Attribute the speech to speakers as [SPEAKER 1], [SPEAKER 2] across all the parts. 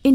[SPEAKER 1] In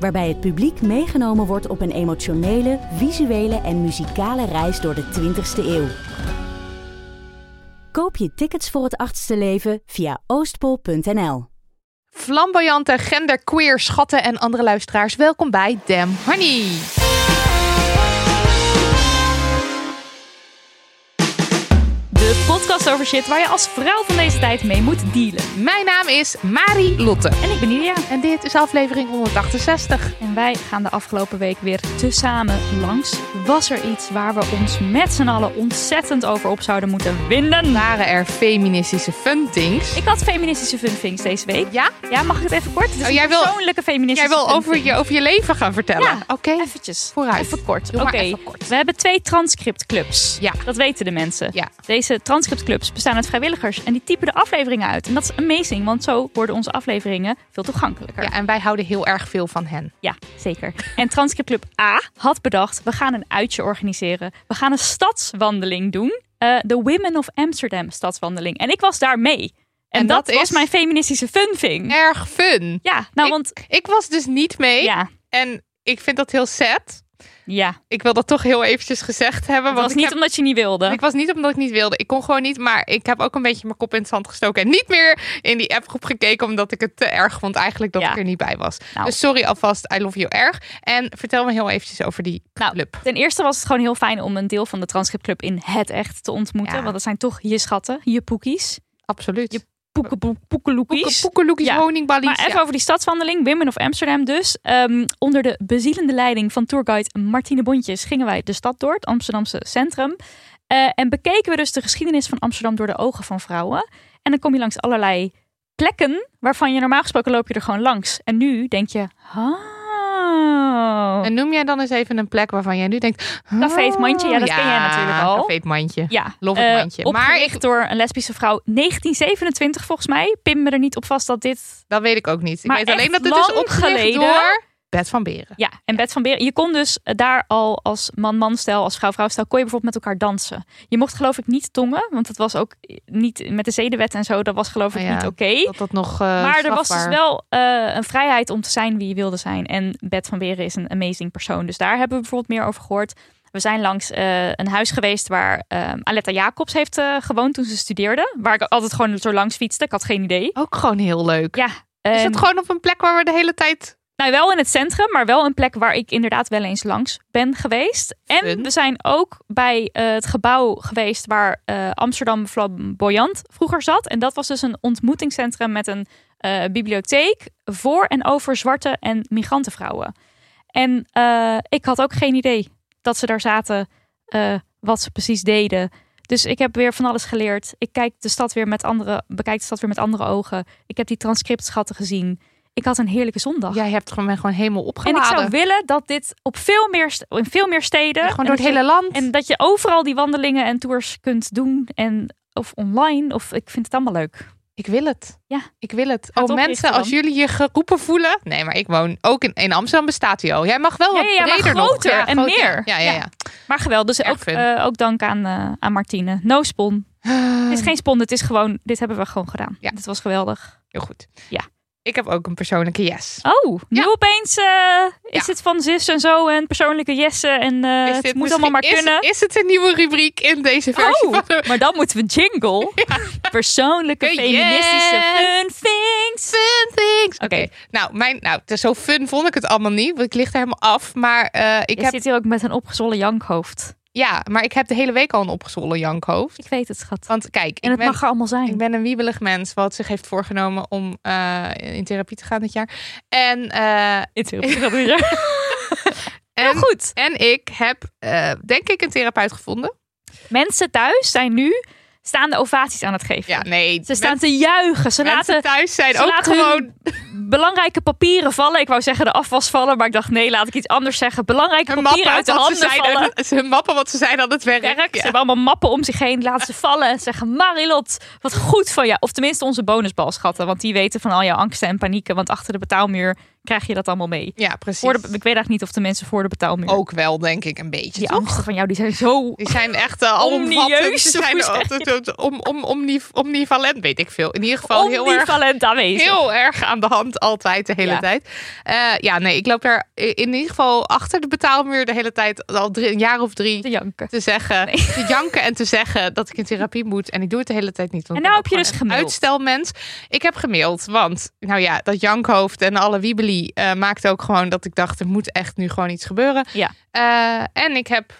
[SPEAKER 1] Waarbij het publiek meegenomen wordt op een emotionele, visuele en muzikale reis door de 20ste eeuw. Koop je tickets voor het achtste leven via oostpol.nl.
[SPEAKER 2] Flamboyante, genderqueer, schatten en andere luisteraars. Welkom bij Dem Honey.
[SPEAKER 3] De podcast over shit waar je als vrouw van deze tijd mee moet dealen.
[SPEAKER 2] Mijn naam is Marie Lotte.
[SPEAKER 3] En ik ben Iria.
[SPEAKER 2] En dit is aflevering 168.
[SPEAKER 3] En wij gaan de afgelopen week weer tezamen langs. Was er iets waar we ons met z'n allen ontzettend over op zouden moeten winden?
[SPEAKER 2] Waren er feministische funtings?
[SPEAKER 3] Ik had feministische funfings deze week.
[SPEAKER 2] Ja?
[SPEAKER 3] Ja, mag ik het even kort? Het is
[SPEAKER 2] Oh, jij
[SPEAKER 3] een
[SPEAKER 2] wil-
[SPEAKER 3] persoonlijke
[SPEAKER 2] Jij
[SPEAKER 3] feministische
[SPEAKER 2] wil over
[SPEAKER 3] funfing.
[SPEAKER 2] je, over je leven gaan vertellen?
[SPEAKER 3] Ja,
[SPEAKER 2] Oké.
[SPEAKER 3] eventjes.
[SPEAKER 2] Vooruit.
[SPEAKER 3] Even kort.
[SPEAKER 2] Doe
[SPEAKER 3] Oké,
[SPEAKER 2] maar even kort.
[SPEAKER 3] we hebben twee transcriptclubs.
[SPEAKER 2] Ja.
[SPEAKER 3] Dat weten de mensen.
[SPEAKER 2] Ja.
[SPEAKER 3] Deze transcriptclubs bestaan uit vrijwilligers en die typen de afleveringen uit. En dat is amazing, want zo worden onze afleveringen veel toegankelijker.
[SPEAKER 2] Ja, en wij houden heel erg veel van hen.
[SPEAKER 3] Ja, zeker. En Transcriptclub A had bedacht: we gaan een uitje organiseren. We gaan een stadswandeling doen. Eh, de Women of Amsterdam stadswandeling. En ik was daar mee. En,
[SPEAKER 2] En
[SPEAKER 3] dat,
[SPEAKER 2] dat
[SPEAKER 3] was
[SPEAKER 2] is-
[SPEAKER 3] mijn feministische funving.
[SPEAKER 2] Erg fun.
[SPEAKER 3] Ja, nou
[SPEAKER 2] Ik-
[SPEAKER 3] want.
[SPEAKER 2] Ik was dus niet mee.
[SPEAKER 3] Ja,
[SPEAKER 2] En ik vind dat heel sad.
[SPEAKER 3] ja.
[SPEAKER 2] Ik wil dat toch heel eventjes gezegd hebben.
[SPEAKER 3] Het
[SPEAKER 2] want
[SPEAKER 3] was
[SPEAKER 2] ik
[SPEAKER 3] niet
[SPEAKER 2] heb-
[SPEAKER 3] omdat je niet wilde.
[SPEAKER 2] Ik was niet omdat ik niet wilde. Ik kon gewoon niet. Maar ik heb ook een beetje mijn kop in het zand gestoken. En niet meer in die appgroep gekeken. Omdat ik het te erg vond eigenlijk dat
[SPEAKER 3] Ja.
[SPEAKER 2] ik er niet bij was.
[SPEAKER 3] Nou.
[SPEAKER 2] Dus sorry alvast. I love you erg. En vertel me heel eventjes over die club.
[SPEAKER 3] Ten eerste was het gewoon heel fijn om een deel van de transcriptclub in het echt te ontmoeten.
[SPEAKER 2] Ja.
[SPEAKER 3] Want dat zijn toch je schatten, je poekies.
[SPEAKER 2] Absoluut. Je
[SPEAKER 3] Poekeboe- Poekeloekies.
[SPEAKER 2] poekeloekjes,
[SPEAKER 3] Ja.
[SPEAKER 2] honingballies.
[SPEAKER 3] Maar even
[SPEAKER 2] ja.
[SPEAKER 3] over die stadswandeling, Women of Amsterdam dus. Ehm, onder de bezielende leiding van tourguide Martine Bontjes gingen wij de stad door, het Amsterdamse centrum. Eh, en bekeken we dus de geschiedenis van Amsterdam door de ogen van vrouwen. En dan kom je langs allerlei plekken waarvan je normaal gesproken loop je er gewoon langs. En nu denk je, oh.
[SPEAKER 2] En noem jij dan eens even een plek waarvan jij nu denkt...
[SPEAKER 3] Café Het Mandje, ja, dat ken jij natuurlijk al.
[SPEAKER 2] Café Het Mandje.
[SPEAKER 3] Ja,
[SPEAKER 2] Love het
[SPEAKER 3] eh,
[SPEAKER 2] mandje. Maar
[SPEAKER 3] opgericht
[SPEAKER 2] ik-
[SPEAKER 3] door een lesbische vrouw 1927 volgens mij. Pim me er niet op vast dat dit
[SPEAKER 2] Dat weet ik ook niet. Ik
[SPEAKER 3] Maar
[SPEAKER 2] weet alleen
[SPEAKER 3] echt
[SPEAKER 2] dat het is
[SPEAKER 3] lang
[SPEAKER 2] opgericht
[SPEAKER 3] geleden.
[SPEAKER 2] door... Bert van Beren.
[SPEAKER 3] Ja, en Bed van Beren. Je kon dus eh, daar al als man-man stijl, als vrouw-vrouw stijl, kon je bijvoorbeeld met elkaar dansen. Je mocht geloof ik niet tongen, want dat was ook eh, niet met de zedenwet en zo. Dat was geloof ik
[SPEAKER 2] Oh ja,
[SPEAKER 3] niet oké.
[SPEAKER 2] Dat dat nog eh,
[SPEAKER 3] Maar er was dus
[SPEAKER 2] strafbaar-
[SPEAKER 3] wel eh, een vrijheid om te zijn wie je wilde zijn. En Bert van Beren is een amazing persoon. Dus daar hebben we bijvoorbeeld meer over gehoord. We zijn langs eh, een huis geweest waar ehm, Aletta Jacobs heeft eh, gewoond toen ze studeerde. Waar ik altijd gewoon zo langs fietste. Ik had geen idee.
[SPEAKER 2] Ook gewoon heel leuk.
[SPEAKER 3] Ja,
[SPEAKER 2] Is
[SPEAKER 3] en-
[SPEAKER 2] het gewoon op een plek waar we de hele tijd...
[SPEAKER 3] Nou, wel in het centrum, maar wel een plek waar ik inderdaad wel eens langs ben geweest.
[SPEAKER 2] Fun.
[SPEAKER 3] En we zijn ook bij eh, het gebouw geweest waar eh, Amsterdam Flamboyant vroeger zat. En dat was dus een ontmoetingscentrum met een eh, bibliotheek voor en over zwarte en migrantenvrouwen. En eh, ik had ook geen idee dat ze daar zaten, eh, wat ze precies deden. Dus ik heb weer van alles geleerd. Ik kijk de stad weer met andere, bekijk de stad weer met andere ogen. Ik heb die transcriptschatten gezien. Ik had een heerlijke zondag.
[SPEAKER 2] Jij hebt gewoon, bent gewoon helemaal
[SPEAKER 3] En
[SPEAKER 2] opgeladen.
[SPEAKER 3] ik zou willen dat dit op veel meer, st- in veel meer steden.
[SPEAKER 2] Ja,
[SPEAKER 3] en
[SPEAKER 2] gewoon door het
[SPEAKER 3] dat je-
[SPEAKER 2] hele land.
[SPEAKER 3] En dat je overal die wandelingen en tours kunt doen. En, of online. Of ik vind het allemaal leuk.
[SPEAKER 2] Ik wil het.
[SPEAKER 3] Ja.
[SPEAKER 2] Ik wil het.
[SPEAKER 3] het
[SPEAKER 2] oh,
[SPEAKER 3] oprichten
[SPEAKER 2] mensen, als
[SPEAKER 3] dan.
[SPEAKER 2] jullie je geroepen voelen. Nee, maar ik woon ook in, in Amsterdam bestaat hij al. Jij mag wel
[SPEAKER 3] Ja,
[SPEAKER 2] wat
[SPEAKER 3] ja, ja, maar
[SPEAKER 2] breder nog.
[SPEAKER 3] groter en
[SPEAKER 2] groter.
[SPEAKER 3] meer.
[SPEAKER 2] Ja, ja, ja.
[SPEAKER 3] Ja. Maar geweldig. Dus
[SPEAKER 2] Erg
[SPEAKER 3] ook,
[SPEAKER 2] fun.
[SPEAKER 3] eh, ook dank aan, eh, aan Martine. No spon. Het is geen spon. Het is gewoon. Dit hebben we gewoon gedaan.
[SPEAKER 2] Ja.
[SPEAKER 3] Dit was geweldig.
[SPEAKER 2] Heel goed.
[SPEAKER 3] Ja.
[SPEAKER 2] Ik heb ook een persoonlijke yes.
[SPEAKER 3] Oh, nu
[SPEAKER 2] Ja.
[SPEAKER 3] opeens eh, is het van zus en zo en persoonlijke jessen en eh,
[SPEAKER 2] Is
[SPEAKER 3] het
[SPEAKER 2] dit
[SPEAKER 3] moet allemaal maar
[SPEAKER 2] misschien-
[SPEAKER 3] kunnen.
[SPEAKER 2] Is, is het een nieuwe rubriek in deze versie
[SPEAKER 3] Oh,
[SPEAKER 2] van de
[SPEAKER 3] maar dan moeten we jingle. Persoonlijke
[SPEAKER 2] Yes.
[SPEAKER 3] feministische fun things.
[SPEAKER 2] Fun things. Oké,
[SPEAKER 3] Oké.
[SPEAKER 2] nou, mijn, nou, het is zo fun vond ik het allemaal niet, want ik licht er helemaal af. Maar eh, ik
[SPEAKER 3] Je
[SPEAKER 2] heb
[SPEAKER 3] zit hier ook met een opgezwollen jankhoofd.
[SPEAKER 2] Ja, maar ik heb de hele week al een opgezwollen jankhoofd.
[SPEAKER 3] Ik weet het, schat.
[SPEAKER 2] Want kijk,
[SPEAKER 3] Oh, En
[SPEAKER 2] ik
[SPEAKER 3] het
[SPEAKER 2] ben,
[SPEAKER 3] mag er allemaal zijn.
[SPEAKER 2] ik ben een wiebelig mens wat zich heeft voorgenomen om eh, in therapie te gaan dit jaar. En, eh,
[SPEAKER 3] Het is heel goed.
[SPEAKER 2] en,
[SPEAKER 3] goed.
[SPEAKER 2] en ik heb eh, denk ik een therapeut gevonden.
[SPEAKER 3] Mensen thuis zijn nu staande ovaties aan het geven.
[SPEAKER 2] Ja, nee.
[SPEAKER 3] Ze staan te juigen. Ze
[SPEAKER 2] mensen
[SPEAKER 3] laten
[SPEAKER 2] thuis zijn
[SPEAKER 3] ze
[SPEAKER 2] ook
[SPEAKER 3] laten
[SPEAKER 2] gewoon...
[SPEAKER 3] hun belangrijke papieren vallen. Ik wou zeggen de afwas vallen, maar ik dacht nee, laat ik iets anders zeggen. Belangrijke
[SPEAKER 2] hun
[SPEAKER 3] papieren
[SPEAKER 2] mappen,
[SPEAKER 3] uit de
[SPEAKER 2] wat ze
[SPEAKER 3] handen
[SPEAKER 2] zijn
[SPEAKER 3] vallen.
[SPEAKER 2] aan het- hun mappen wat ze zijn aan het werk.
[SPEAKER 3] Werk. Ze
[SPEAKER 2] Ja.
[SPEAKER 3] hebben allemaal mappen om zich heen. Laten ze vallen en zeggen Marilot, wat goed van jou. Of tenminste onze bonusbalschatten, want die weten van al jouw angsten en panieken. Want achter de betaalmuur krijg je dat allemaal mee.
[SPEAKER 2] Ja, precies.
[SPEAKER 3] Voor de, ik weet eigenlijk niet of de mensen voor de betaalmuur...
[SPEAKER 2] Ook wel, denk ik, een beetje.
[SPEAKER 3] die
[SPEAKER 2] toch?
[SPEAKER 3] angsten van jou, die zijn zo...
[SPEAKER 2] Die zijn echt uh, alomvattend.
[SPEAKER 3] Omnieus,
[SPEAKER 2] Ze
[SPEAKER 3] of
[SPEAKER 2] zijn
[SPEAKER 3] hoe zeg je
[SPEAKER 2] eh, eh, eh, om, om, omni- omnivalent, weet ik veel. In ieder geval heel erg
[SPEAKER 3] Omnivalent aanwezig.
[SPEAKER 2] heel erg aan de hand altijd de hele
[SPEAKER 3] Ja.
[SPEAKER 2] tijd. Eh, ja, nee, ik loop daar in ieder geval achter de betaalmuur de hele tijd al drie, een jaar of
[SPEAKER 3] te
[SPEAKER 2] drie
[SPEAKER 3] janken.
[SPEAKER 2] te zeggen, te janken en te zeggen dat ik in therapie moet en ik doe het de hele tijd niet. want
[SPEAKER 3] En
[SPEAKER 2] ik ben
[SPEAKER 3] nou heb je
[SPEAKER 2] gewoon
[SPEAKER 3] dus
[SPEAKER 2] een
[SPEAKER 3] gemaild.
[SPEAKER 2] Uitstelmens. Ik heb gemaild, want nou ja, dat jankhoofd en alle wiebeli eh maakte ook gewoon dat ik dacht er moet echt nu gewoon iets gebeuren.
[SPEAKER 3] Ja.
[SPEAKER 2] Eh, en ik heb,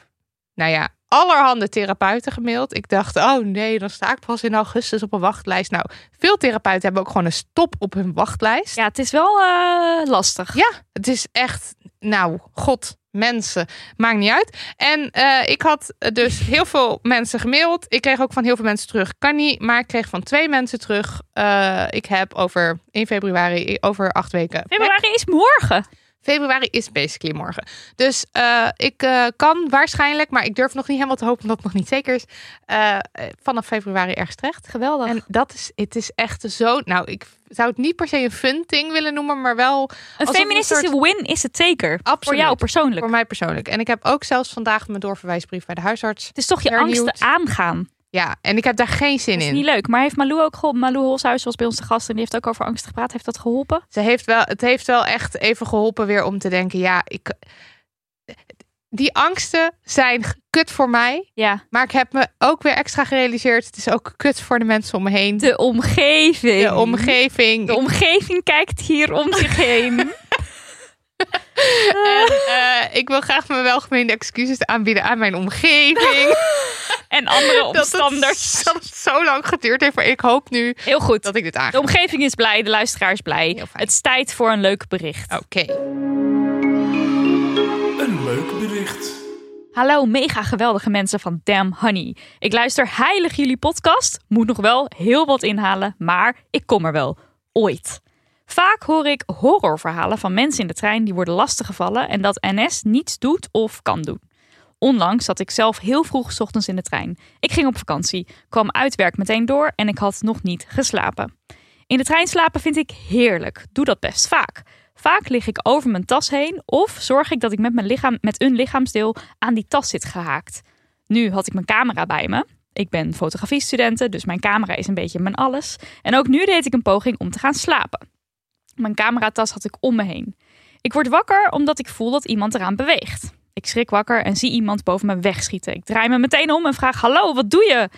[SPEAKER 2] nou ja. Allerhande therapeuten gemaild. Ik dacht, oh nee, dan sta ik pas in augustus op een wachtlijst. Nou, veel therapeuten hebben ook gewoon een stop op hun wachtlijst.
[SPEAKER 3] Ja, het is wel eh, lastig.
[SPEAKER 2] Ja, het is echt, nou, god, mensen, maakt niet uit. En eh, ik had eh, dus heel veel mensen gemaild. Ik kreeg ook van heel veel mensen terug, kan niet, maar ik kreeg van twee mensen terug. Eh, ik heb over, in februari, over acht weken.
[SPEAKER 3] Februari is morgen.
[SPEAKER 2] Februari is basically morgen. Dus eh, ik eh, kan waarschijnlijk, maar ik durf nog niet helemaal te hopen omdat het nog niet zeker is, eh, eh, vanaf februari ergens terecht.
[SPEAKER 3] Geweldig.
[SPEAKER 2] En dat is, het is echt zo, nou, ik zou het niet per se een fun thing willen noemen, maar wel
[SPEAKER 3] een
[SPEAKER 2] alsof
[SPEAKER 3] feministische
[SPEAKER 2] soort-
[SPEAKER 3] win is het zeker. Voor
[SPEAKER 2] Absoluut.
[SPEAKER 3] jou persoonlijk.
[SPEAKER 2] Voor mij persoonlijk. En ik heb ook zelfs vandaag mijn doorverwijsbrief bij de huisarts.
[SPEAKER 3] het is toch je
[SPEAKER 2] hernieuwd.
[SPEAKER 3] angsten aangaan.
[SPEAKER 2] Ja, en ik heb daar geen zin
[SPEAKER 3] Dat is
[SPEAKER 2] in.
[SPEAKER 3] niet leuk. Maar heeft Malou ook geholpen? Malou Holshuis was bij ons te gast en die heeft ook over angsten gepraat. Heeft dat geholpen?
[SPEAKER 2] Ze heeft wel, het heeft wel echt even geholpen weer om te denken, ja, ik, die angsten zijn kut voor mij.
[SPEAKER 3] Ja.
[SPEAKER 2] Maar ik heb me ook weer extra gerealiseerd, het is ook kut voor de mensen om me heen.
[SPEAKER 3] De omgeving.
[SPEAKER 2] De omgeving.
[SPEAKER 3] De omgeving kijkt hier om zich heen.
[SPEAKER 2] En, eh, ik wil graag mijn welgemeende excuses aanbieden aan mijn omgeving.
[SPEAKER 3] en andere
[SPEAKER 2] dat, het,
[SPEAKER 3] omstanders.
[SPEAKER 2] dat het zo lang geduurd heeft. Maar ik hoop nu
[SPEAKER 3] Heel goed.
[SPEAKER 2] dat ik dit
[SPEAKER 3] De
[SPEAKER 2] aangeef.
[SPEAKER 3] omgeving is blij, de luisteraar is blij.
[SPEAKER 2] Heel fijn. Oh.
[SPEAKER 3] Het is tijd voor een leuk bericht.
[SPEAKER 2] Oké.
[SPEAKER 4] Een leuk bericht.
[SPEAKER 3] Hallo mega geweldige mensen van Damn Honey. Ik luister heilig jullie podcast. Moet nog wel heel wat inhalen, maar ik kom er wel. Ooit. Vaak hoor ik horrorverhalen van mensen in de trein die worden lastiggevallen en dat NS niets doet of kan doen. Onlangs zat ik zelf heel vroeg 's ochtends in de trein. Ik ging op vakantie, kwam uit werk meteen door en ik had nog niet geslapen. In de trein slapen vind ik heerlijk. Doe dat best vaak. Vaak lig ik over mijn tas heen of zorg ik dat ik met, mijn lichaam, met een lichaamsdeel aan die tas zit gehaakt. Nu had ik mijn camera bij me. Ik ben fotografiestudenten, dus mijn camera is een beetje mijn alles. En ook nu deed ik een poging om te gaan slapen. Mijn cameratas had ik om me heen. Ik word wakker omdat ik voel dat iemand eraan beweegt. Ik schrik wakker en zie iemand boven me wegschieten. Ik draai me meteen om en vraag: Hallo, wat doe je?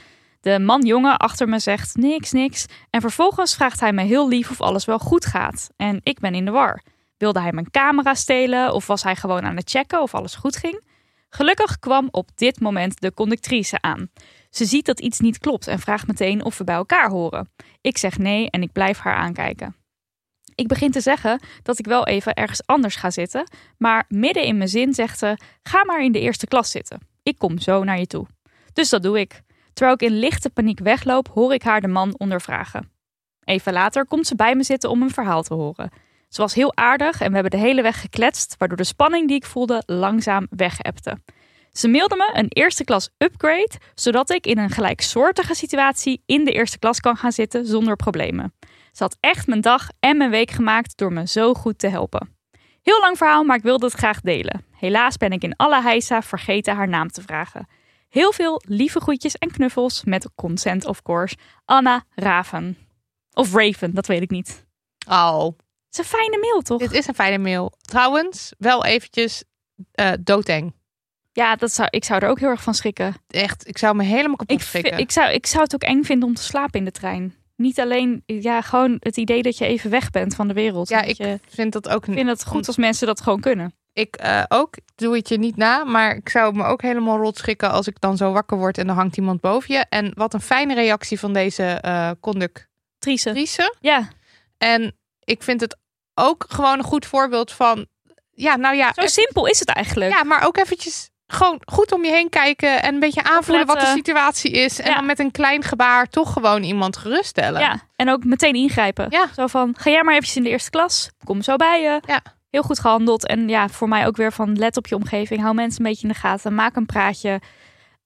[SPEAKER 3] De man-jongen achter me zegt niks, niks. En vervolgens vraagt hij me heel lief of alles wel goed gaat. En ik ben in de war. Wilde hij mijn camera stelen of was hij gewoon aan het checken of alles goed ging? Gelukkig kwam op dit moment de conductrice aan. Ze ziet dat iets niet klopt en vraagt meteen of we bij elkaar horen. Ik zeg nee en ik blijf haar aankijken. Ik begin te zeggen dat ik wel even ergens anders ga zitten, maar midden in mijn zin zegt ze: Ga maar in de eerste klas zitten. Ik kom zo naar je toe. Dus dat doe ik. Terwijl ik in lichte paniek wegloop, hoor ik haar de man ondervragen. Even later komt ze bij me zitten om een verhaal te horen. Ze was heel aardig en we hebben de hele weg gekletst, waardoor de spanning die ik voelde langzaam wegepte. Ze mailde me een eerste klas upgrade, zodat ik in een gelijksoortige situatie in de eerste klas kan gaan zitten zonder problemen. Ze had echt mijn dag en mijn week gemaakt door me zo goed te helpen. Heel lang verhaal, maar ik wilde het graag delen. Helaas ben ik in alle heisa vergeten haar naam te vragen. Heel veel lieve groetjes en knuffels met consent of course. Anna Raven. Of Raven, dat weet ik niet. Het
[SPEAKER 2] Al.
[SPEAKER 3] is een fijne mail, toch?
[SPEAKER 2] Dit is een fijne mail. Trouwens, wel eventjes eh doodeng.
[SPEAKER 3] Ja, dat zou, ik zou er ook heel erg van schrikken.
[SPEAKER 2] Echt, ik zou me helemaal kapot
[SPEAKER 3] Ik,
[SPEAKER 2] schrikken.
[SPEAKER 3] vi- ik, zou, ik zou het ook eng vinden om te slapen in de trein. Niet alleen, ja, gewoon het idee dat je even weg bent van de wereld.
[SPEAKER 2] ja,
[SPEAKER 3] Dat
[SPEAKER 2] ik Mm.
[SPEAKER 3] je-
[SPEAKER 2] vind dat ook
[SPEAKER 3] ik
[SPEAKER 2] niet.
[SPEAKER 3] vind het goed als mensen dat gewoon kunnen.
[SPEAKER 2] Ik eh, ook, doe het je niet na, maar ik zou me ook helemaal rot schikken als ik dan zo wakker word en er hangt iemand boven je. En wat een fijne reactie van deze eh, conductrice.
[SPEAKER 3] Triese. Ja,
[SPEAKER 2] En ik vind het ook gewoon een goed voorbeeld van, ja, nou ja,
[SPEAKER 3] zo simpel is het eigenlijk.
[SPEAKER 2] ja, maar ook eventjes gewoon goed om je heen kijken en een beetje aanvoelen wat de
[SPEAKER 3] Opletten.
[SPEAKER 2] situatie is. En
[SPEAKER 3] Ja.
[SPEAKER 2] dan met een klein gebaar toch gewoon iemand geruststellen.
[SPEAKER 3] Ja, en ook meteen ingrijpen.
[SPEAKER 2] Ja.
[SPEAKER 3] Zo van, ga jij maar eventjes in de eerste klas. Kom zo bij je.
[SPEAKER 2] Ja.
[SPEAKER 3] Heel goed gehandeld. En ja, voor mij ook weer van let op je omgeving. Hou mensen een beetje in de gaten. Maak een praatje.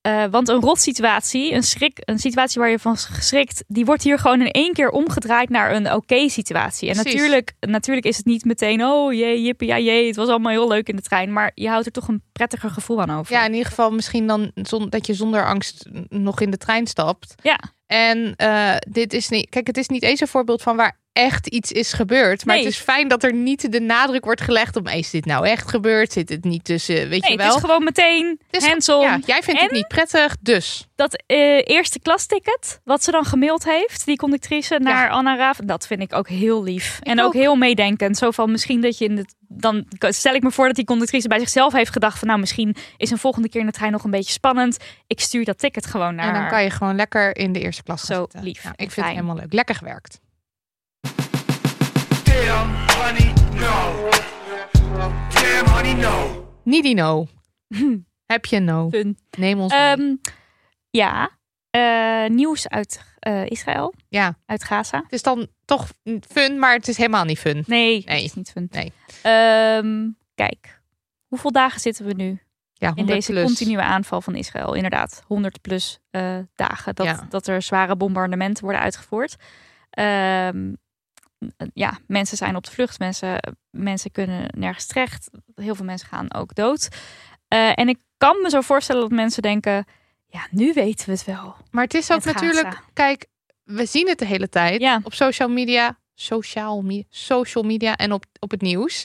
[SPEAKER 3] Eh, want een rot situatie, een, schrik, een situatie waar je van geschrikt... die wordt hier gewoon in één keer omgedraaid naar een oké situatie. En
[SPEAKER 2] Precies.
[SPEAKER 3] natuurlijk, natuurlijk is het niet meteen... oh jee, jippie, ja jee, het was allemaal heel leuk in de trein. Maar je houdt er toch een prettiger gevoel aan over.
[SPEAKER 2] Ja, in ieder geval misschien dan zon- dat je zonder angst n- nog in de trein stapt.
[SPEAKER 3] Ja.
[SPEAKER 2] En eh, dit is niet. Kijk, het is niet eens een voorbeeld van waar echt iets is gebeurd. Maar
[SPEAKER 3] Nee.
[SPEAKER 2] het is fijn dat er niet de nadruk wordt gelegd op is dit nou echt gebeurd? Zit het niet tussen? Weet
[SPEAKER 3] Nee,
[SPEAKER 2] je
[SPEAKER 3] het
[SPEAKER 2] wel?
[SPEAKER 3] is gewoon meteen
[SPEAKER 2] Het is-
[SPEAKER 3] hands-on.
[SPEAKER 2] ja, jij vindt het
[SPEAKER 3] En-
[SPEAKER 2] niet prettig, dus.
[SPEAKER 3] dat eh, eerste klas ticket, wat ze dan gemaild heeft, die conductrice, naar Anna Raaf, dat vind ik ook heel lief. en ook,
[SPEAKER 2] ook.
[SPEAKER 3] heel meedenkend. Zo van misschien dat je in het. Dan stel ik me voor dat die conductrice bij zichzelf heeft gedacht: van nou, misschien is een volgende keer in de trein nog een beetje spannend. Ik stuur dat ticket gewoon naar.
[SPEAKER 2] En dan kan je gewoon lekker in de eerste klas gaan
[SPEAKER 3] Zo
[SPEAKER 2] zitten.
[SPEAKER 3] lief
[SPEAKER 2] Ja,
[SPEAKER 3] en
[SPEAKER 2] ik vind
[SPEAKER 3] fijn.
[SPEAKER 2] het helemaal leuk. Lekker gewerkt.
[SPEAKER 5] Damn, honey, no. Damn, honey, no.
[SPEAKER 2] Nidino. Heb je no?
[SPEAKER 3] Fun.
[SPEAKER 2] Neem ons mee.
[SPEAKER 3] Ehm, ja, Eh, nieuws uit eh, Israël,
[SPEAKER 2] Ja,
[SPEAKER 3] uit Gaza.
[SPEAKER 2] het is dan toch fun, maar het is helemaal niet fun.
[SPEAKER 3] Nee,
[SPEAKER 2] Nee.
[SPEAKER 3] dat is niet fun.
[SPEAKER 2] Nee.
[SPEAKER 3] Ehm, kijk, hoeveel dagen zitten we nu?
[SPEAKER 2] Ja,
[SPEAKER 3] in
[SPEAKER 2] 100
[SPEAKER 3] deze
[SPEAKER 2] plus.
[SPEAKER 3] continue aanval van Israël. Inderdaad, 100 plus eh, dagen dat,
[SPEAKER 2] Ja.
[SPEAKER 3] dat er zware bombardementen worden uitgevoerd. Ehm, ja, mensen zijn op de vlucht, mensen, mensen kunnen nergens terecht. Heel veel mensen gaan ook dood. Eh, en ik kan me zo voorstellen dat mensen denken: ja, nu weten we het wel.
[SPEAKER 2] Maar het is ook
[SPEAKER 3] Met
[SPEAKER 2] natuurlijk,
[SPEAKER 3] Gaza.
[SPEAKER 2] kijk, we zien het de hele tijd
[SPEAKER 3] Ja.
[SPEAKER 2] op social media, social, me- social media en op, op het nieuws.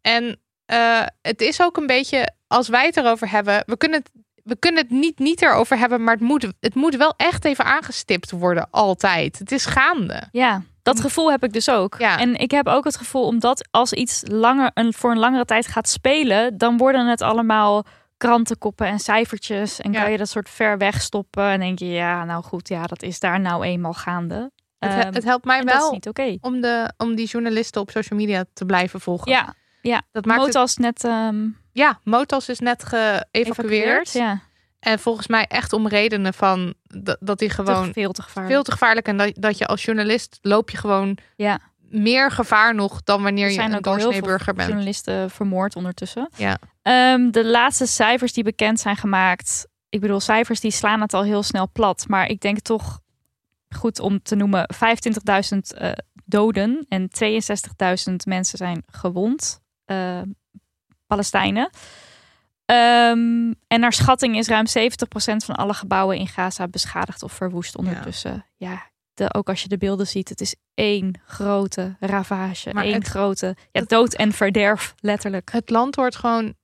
[SPEAKER 2] En eh, het is ook een beetje, als wij het erover hebben, we kunnen het, we kunnen het niet, niet erover hebben, maar het moet, het moet wel echt even aangestipt worden, altijd. Het is gaande.
[SPEAKER 3] Ja, dat gevoel heb ik dus ook.
[SPEAKER 2] Ja.
[SPEAKER 3] En ik heb ook het gevoel, omdat als iets langer, een, voor een langere tijd gaat spelen, dan worden het allemaal krantenkoppen en cijfertjes. En
[SPEAKER 2] Ja.
[SPEAKER 3] kan je dat soort ver wegstoppen. En denk je, ja, nou goed, ja, dat is daar nou eenmaal gaande.
[SPEAKER 2] Het,
[SPEAKER 3] Ehm,
[SPEAKER 2] he- het helpt mij
[SPEAKER 3] en dat is
[SPEAKER 2] wel
[SPEAKER 3] niet oké.
[SPEAKER 2] om, de, om die journalisten op social media te blijven volgen.
[SPEAKER 3] Ja,
[SPEAKER 2] dat maakt het,
[SPEAKER 3] Motas net ehm
[SPEAKER 2] ja Motas is net geëvacueerd.
[SPEAKER 3] evacueerd. Ja,
[SPEAKER 2] En volgens mij echt om redenen van dat, dat hij gewoon
[SPEAKER 3] toch veel te gevaarlijk.
[SPEAKER 2] veel te gevaarlijk. En dat, dat je als journalist loop je gewoon
[SPEAKER 3] Ja.
[SPEAKER 2] meer gevaar nog dan wanneer
[SPEAKER 3] Er
[SPEAKER 2] je
[SPEAKER 3] zijn
[SPEAKER 2] een
[SPEAKER 3] ook al heel
[SPEAKER 2] doorsnee
[SPEAKER 3] veel
[SPEAKER 2] burger bent.
[SPEAKER 3] journalisten vermoord ondertussen.
[SPEAKER 2] Ja.
[SPEAKER 3] Ehm, de laatste cijfers die bekend zijn gemaakt. Ik bedoel, cijfers die slaan het al heel snel plat. Maar ik denk toch goed om te noemen 25.000 eh, doden en 62.000 mensen zijn gewond. eh, Palestijnen. Ehm, en naar schatting is ruim 70% van alle gebouwen in Gaza beschadigd of verwoest ondertussen. Ja, de, ook als je de beelden ziet, het is één grote ravage.
[SPEAKER 2] Maar
[SPEAKER 3] één
[SPEAKER 2] het-
[SPEAKER 3] grote ja,
[SPEAKER 2] het-
[SPEAKER 3] dood en verderf, letterlijk.
[SPEAKER 2] Het land wordt gewoon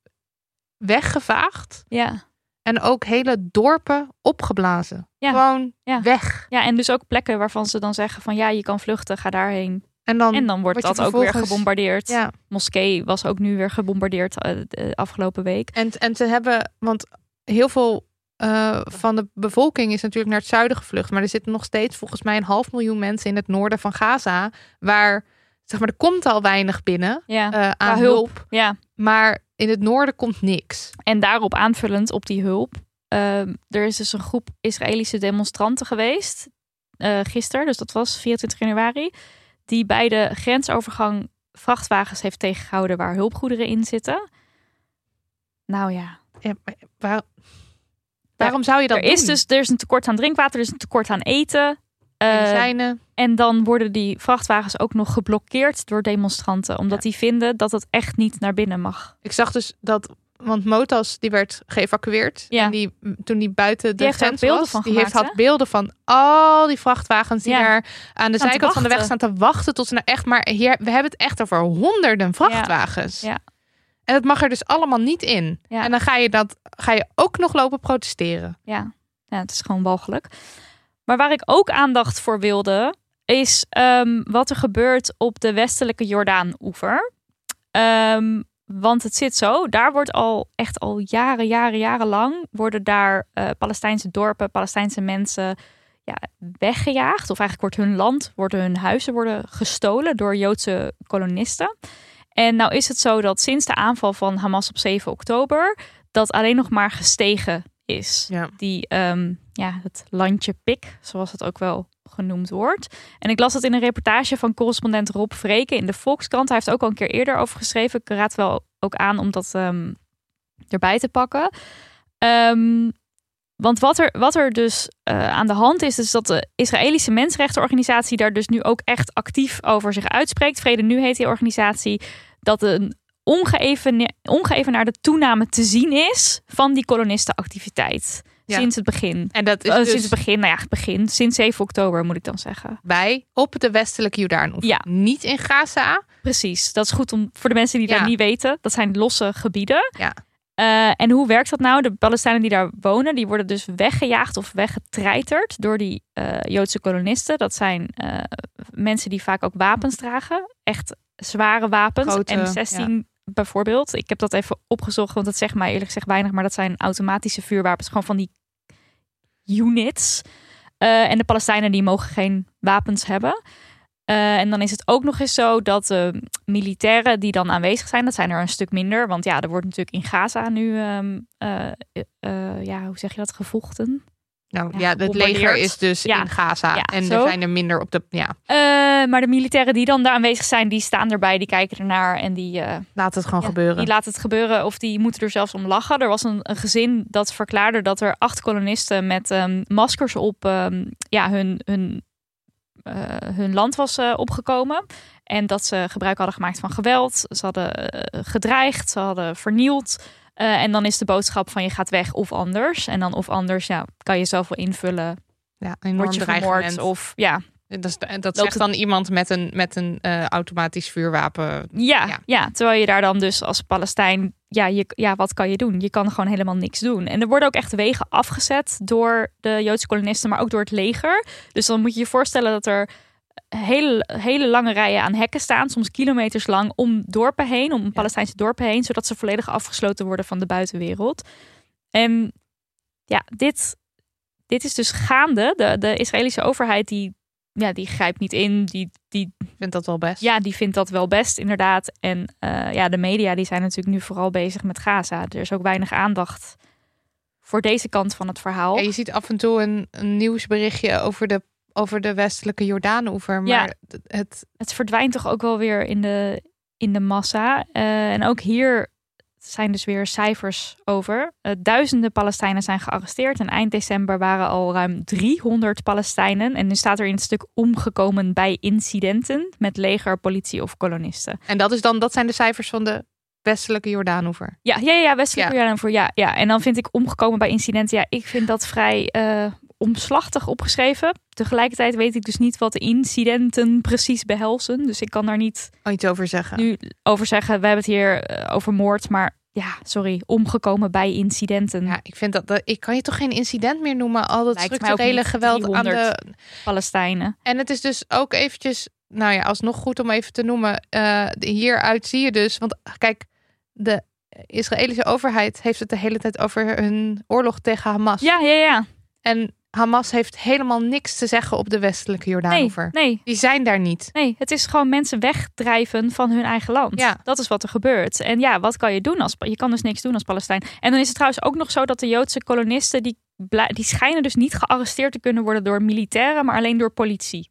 [SPEAKER 2] weggevaagd
[SPEAKER 3] Ja.
[SPEAKER 2] en ook hele dorpen opgeblazen.
[SPEAKER 3] Ja.
[SPEAKER 2] Gewoon
[SPEAKER 3] Ja.
[SPEAKER 2] weg.
[SPEAKER 3] ja, en dus ook plekken waarvan ze dan zeggen van ja, je kan vluchten, ga daarheen.
[SPEAKER 2] En dan,
[SPEAKER 3] En dan wordt
[SPEAKER 2] word je
[SPEAKER 3] dat ook weer
[SPEAKER 2] vervolgens-
[SPEAKER 3] gebombardeerd.
[SPEAKER 2] ja.
[SPEAKER 3] Moskee was ook nu weer gebombardeerd eh, de afgelopen week.
[SPEAKER 2] En, en ze hebben, want heel veel eh, van de bevolking is natuurlijk naar het zuiden gevlucht. Maar er zitten nog steeds volgens mij een half miljoen mensen in het noorden van Gaza. Waar, zeg maar, er komt al weinig binnen
[SPEAKER 3] Ja,
[SPEAKER 2] eh, aan
[SPEAKER 3] hulp.
[SPEAKER 2] hulp.
[SPEAKER 3] ja.
[SPEAKER 2] Maar in het noorden komt niks.
[SPEAKER 3] En daarop aanvullend op die hulp. ehm, er is dus een groep Israëlische demonstranten geweest. eh gisteren, dus dat was 24 januari. Die bij de grensovergang vrachtwagens heeft tegengehouden waar hulpgoederen in zitten. Nou ja,
[SPEAKER 2] Ja, maar waar- waarom zou je dat
[SPEAKER 3] er is
[SPEAKER 2] doen?
[SPEAKER 3] dus er is een tekort aan drinkwater, er is een tekort aan eten. Eh,
[SPEAKER 2] Medicijnen.
[SPEAKER 3] en dan worden die vrachtwagens ook nog geblokkeerd door demonstranten. Omdat die vinden dat het echt niet naar binnen mag.
[SPEAKER 2] Ik zag dus dat, want Motas die werd geëvacueerd.
[SPEAKER 3] Ja.
[SPEAKER 2] En die, toen die buiten de
[SPEAKER 3] Die heeft daar
[SPEAKER 2] grens
[SPEAKER 3] beelden
[SPEAKER 2] was,
[SPEAKER 3] van
[SPEAKER 2] die
[SPEAKER 3] gemaakt,
[SPEAKER 2] heeft, had
[SPEAKER 3] hè?
[SPEAKER 2] beelden van al die vrachtwagens die
[SPEAKER 3] Ja.
[SPEAKER 2] daar aan de
[SPEAKER 3] Staan te
[SPEAKER 2] zijkant van de weg
[SPEAKER 3] wachten.
[SPEAKER 2] staan te wachten tot ze nou echt, maar hier, we hebben het echt over honderden vrachtwagens.
[SPEAKER 3] Ja.
[SPEAKER 2] En dat mag er dus allemaal niet in.
[SPEAKER 3] Ja.
[SPEAKER 2] En dan ga je dat, ga je ook nog lopen protesteren.
[SPEAKER 3] Ja, ja het is gewoon walgelijk. Maar waar ik ook aandacht voor wilde, is ehm, wat er gebeurt op de westelijke Jordaan-oever. Ehm, Want het zit zo, daar wordt al echt al jaren, jaren, jaren lang worden daar eh, Palestijnse dorpen, Palestijnse mensen ja, weggejaagd. Of eigenlijk wordt hun land, worden hun huizen worden gestolen door Joodse kolonisten. En nou is het zo dat sinds de aanval van Hamas op 7 oktober dat alleen nog maar gestegen is.
[SPEAKER 2] Ja.
[SPEAKER 3] Die, ehm, ja, het landje pik, zoals het ook wel genoemd wordt. En ik las dat in een reportage van correspondent Rob Vreken in de Volkskrant. Hij heeft er ook al een keer eerder over geschreven. Ik raad wel ook aan om dat ehm, erbij te pakken. Ehm, want wat er, wat er dus eh, aan de hand is, is dat de Israëlische mensenrechtenorganisatie daar dus nu ook echt actief over zich uitspreekt. Vrede Nu heet die organisatie. Dat een ongeëvene- ongeëvenaarde toename te zien is van die kolonistenactiviteit.
[SPEAKER 2] Ja.
[SPEAKER 3] Sinds het begin.
[SPEAKER 2] En dat is
[SPEAKER 3] Eh,
[SPEAKER 2] dus
[SPEAKER 3] Sinds het begin, nou ja, het begin. Sinds 7 oktober moet ik dan zeggen.
[SPEAKER 2] bij op de westelijke jordaan
[SPEAKER 3] Ja.
[SPEAKER 2] Niet in Gaza.
[SPEAKER 3] Precies, dat is goed om, voor de mensen die dat
[SPEAKER 2] Ja.
[SPEAKER 3] niet weten. Dat zijn losse gebieden.
[SPEAKER 2] Ja.
[SPEAKER 3] Eh, en hoe werkt dat nou? De Palestijnen die daar wonen, die worden dus weggejaagd of weggetreiterd door die eh, Joodse kolonisten. Dat zijn eh, mensen die vaak ook wapens dragen. Echt zware wapens.
[SPEAKER 2] Grote,
[SPEAKER 3] M16 bijvoorbeeld. Ik heb dat even opgezocht, want dat zegt mij eerlijk gezegd weinig. Maar dat zijn automatische vuurwapens. Gewoon van die units. Eh, en de Palestijnen die mogen geen wapens hebben. Eh, en dan is het ook nog eens zo dat de militairen die dan aanwezig zijn, dat zijn er een stuk minder. Want ja, er wordt natuurlijk in Gaza nu, ehm, eh, eh, ja, hoe zeg je dat, gevochten.
[SPEAKER 2] Nou ja,
[SPEAKER 3] Ja,
[SPEAKER 2] het leger
[SPEAKER 3] gebombardeerd.
[SPEAKER 2] is dus
[SPEAKER 3] Ja.
[SPEAKER 2] in Gaza.
[SPEAKER 3] Ja,
[SPEAKER 2] en er
[SPEAKER 3] zo.
[SPEAKER 2] zijn er minder op de. Ja,
[SPEAKER 3] Eh, maar de militairen die dan daar aanwezig zijn, die staan erbij, die kijken ernaar en die, eh,
[SPEAKER 2] laat het gewoon
[SPEAKER 3] ja,
[SPEAKER 2] gebeuren.
[SPEAKER 3] die laten het gebeuren of die moeten er zelfs om lachen. Er was een, een gezin dat verklaarde dat er acht kolonisten met ehm, maskers op ehm, ja, hun, hun, eh, hun land was eh, opgekomen. En dat ze gebruik hadden gemaakt van geweld. Ze hadden eh, gedreigd, ze hadden vernield. Eh, en dan is de boodschap van je gaat weg of anders. En dan of anders, ja, kan je zelf wel invullen.
[SPEAKER 2] ja, een enorm
[SPEAKER 3] Word je
[SPEAKER 2] dreigement.
[SPEAKER 3] vermoord of ja,
[SPEAKER 2] Dat, is- en dat
[SPEAKER 3] Loopt
[SPEAKER 2] zegt dan iemand met een, met een eh, automatisch vuurwapen.
[SPEAKER 3] Ja,
[SPEAKER 2] Ja.
[SPEAKER 3] ja. terwijl je daar dan dus als Palestijn, ja, je, ja, wat kan je doen? Je kan gewoon helemaal niks doen. En er worden ook echt wegen afgezet door de Joodse kolonisten, maar ook door het leger. Dus dan moet je je voorstellen dat er hele, hele lange rijen aan hekken staan, soms kilometers lang, om dorpen heen, om Palestijnse dorpen heen, zodat ze volledig afgesloten worden van de buitenwereld. En ja, dit, dit is dus gaande. De, de Israëlische overheid die, ja, die grijpt niet in, die, die
[SPEAKER 2] Ik vind dat wel best.
[SPEAKER 3] ja, die vindt dat wel best, inderdaad. En eh, ja, de media die zijn natuurlijk nu vooral bezig met Gaza. Er is ook weinig aandacht voor deze kant van het verhaal.
[SPEAKER 2] Ja, je ziet af en toe een, een nieuwsberichtje over de, over de westelijke Jordaanoever. Maar
[SPEAKER 3] Ja.
[SPEAKER 2] het- het,
[SPEAKER 3] Het verdwijnt toch ook wel weer in de, in de massa. Eh, en ook hier zijn dus weer cijfers over. Eh, duizenden Palestijnen zijn gearresteerd. En eind december waren al ruim 300 Palestijnen. En nu staat er in het stuk omgekomen bij incidenten met leger, politie of kolonisten.
[SPEAKER 2] en dat, is dan, dat zijn de cijfers van de westelijke Jordaanoever.
[SPEAKER 3] Ja, ja, ja, ja, westelijke
[SPEAKER 2] Ja.
[SPEAKER 3] Jordaan voor ja, ja. En dan vind ik omgekomen bij incidenten. Ja, ik vind dat vrij eh, omslachtig opgeschreven. Tegelijkertijd weet ik dus niet wat de incidenten precies behelzen. Dus ik kan daar niet
[SPEAKER 2] Al iets over zeggen.
[SPEAKER 3] nu over zeggen. We hebben het hier eh, over moord, maar ja, sorry, omgekomen bij incidenten.
[SPEAKER 2] Ja, ik vind dat, dat- ik kan je toch geen incident meer noemen. Al dat
[SPEAKER 3] Lijkt mij ook
[SPEAKER 2] structurele
[SPEAKER 3] niet
[SPEAKER 2] geweld aan de
[SPEAKER 3] 300. Palestijnen.
[SPEAKER 2] En het is dus ook eventjes, nou ja, alsnog goed om even te noemen. eh, hieruit zie je dus, want kijk, de Israëlische overheid heeft het de hele tijd over hun oorlog tegen Hamas.
[SPEAKER 3] Ja, ja, ja.
[SPEAKER 2] En Hamas heeft helemaal niks te zeggen op de westelijke
[SPEAKER 3] Nee,
[SPEAKER 2] Jordaanoever.
[SPEAKER 3] nee.
[SPEAKER 2] Die zijn daar niet.
[SPEAKER 3] Nee, het is gewoon mensen wegdrijven van hun eigen land.
[SPEAKER 2] Ja.
[SPEAKER 3] Dat is wat er gebeurt. En ja, wat kan je doen als je kan dus niks doen als Palestijn. En dan is het trouwens ook nog zo dat de Joodse kolonisten die blij- die schijnen dus niet gearresteerd te kunnen worden door militairen, maar alleen door politie.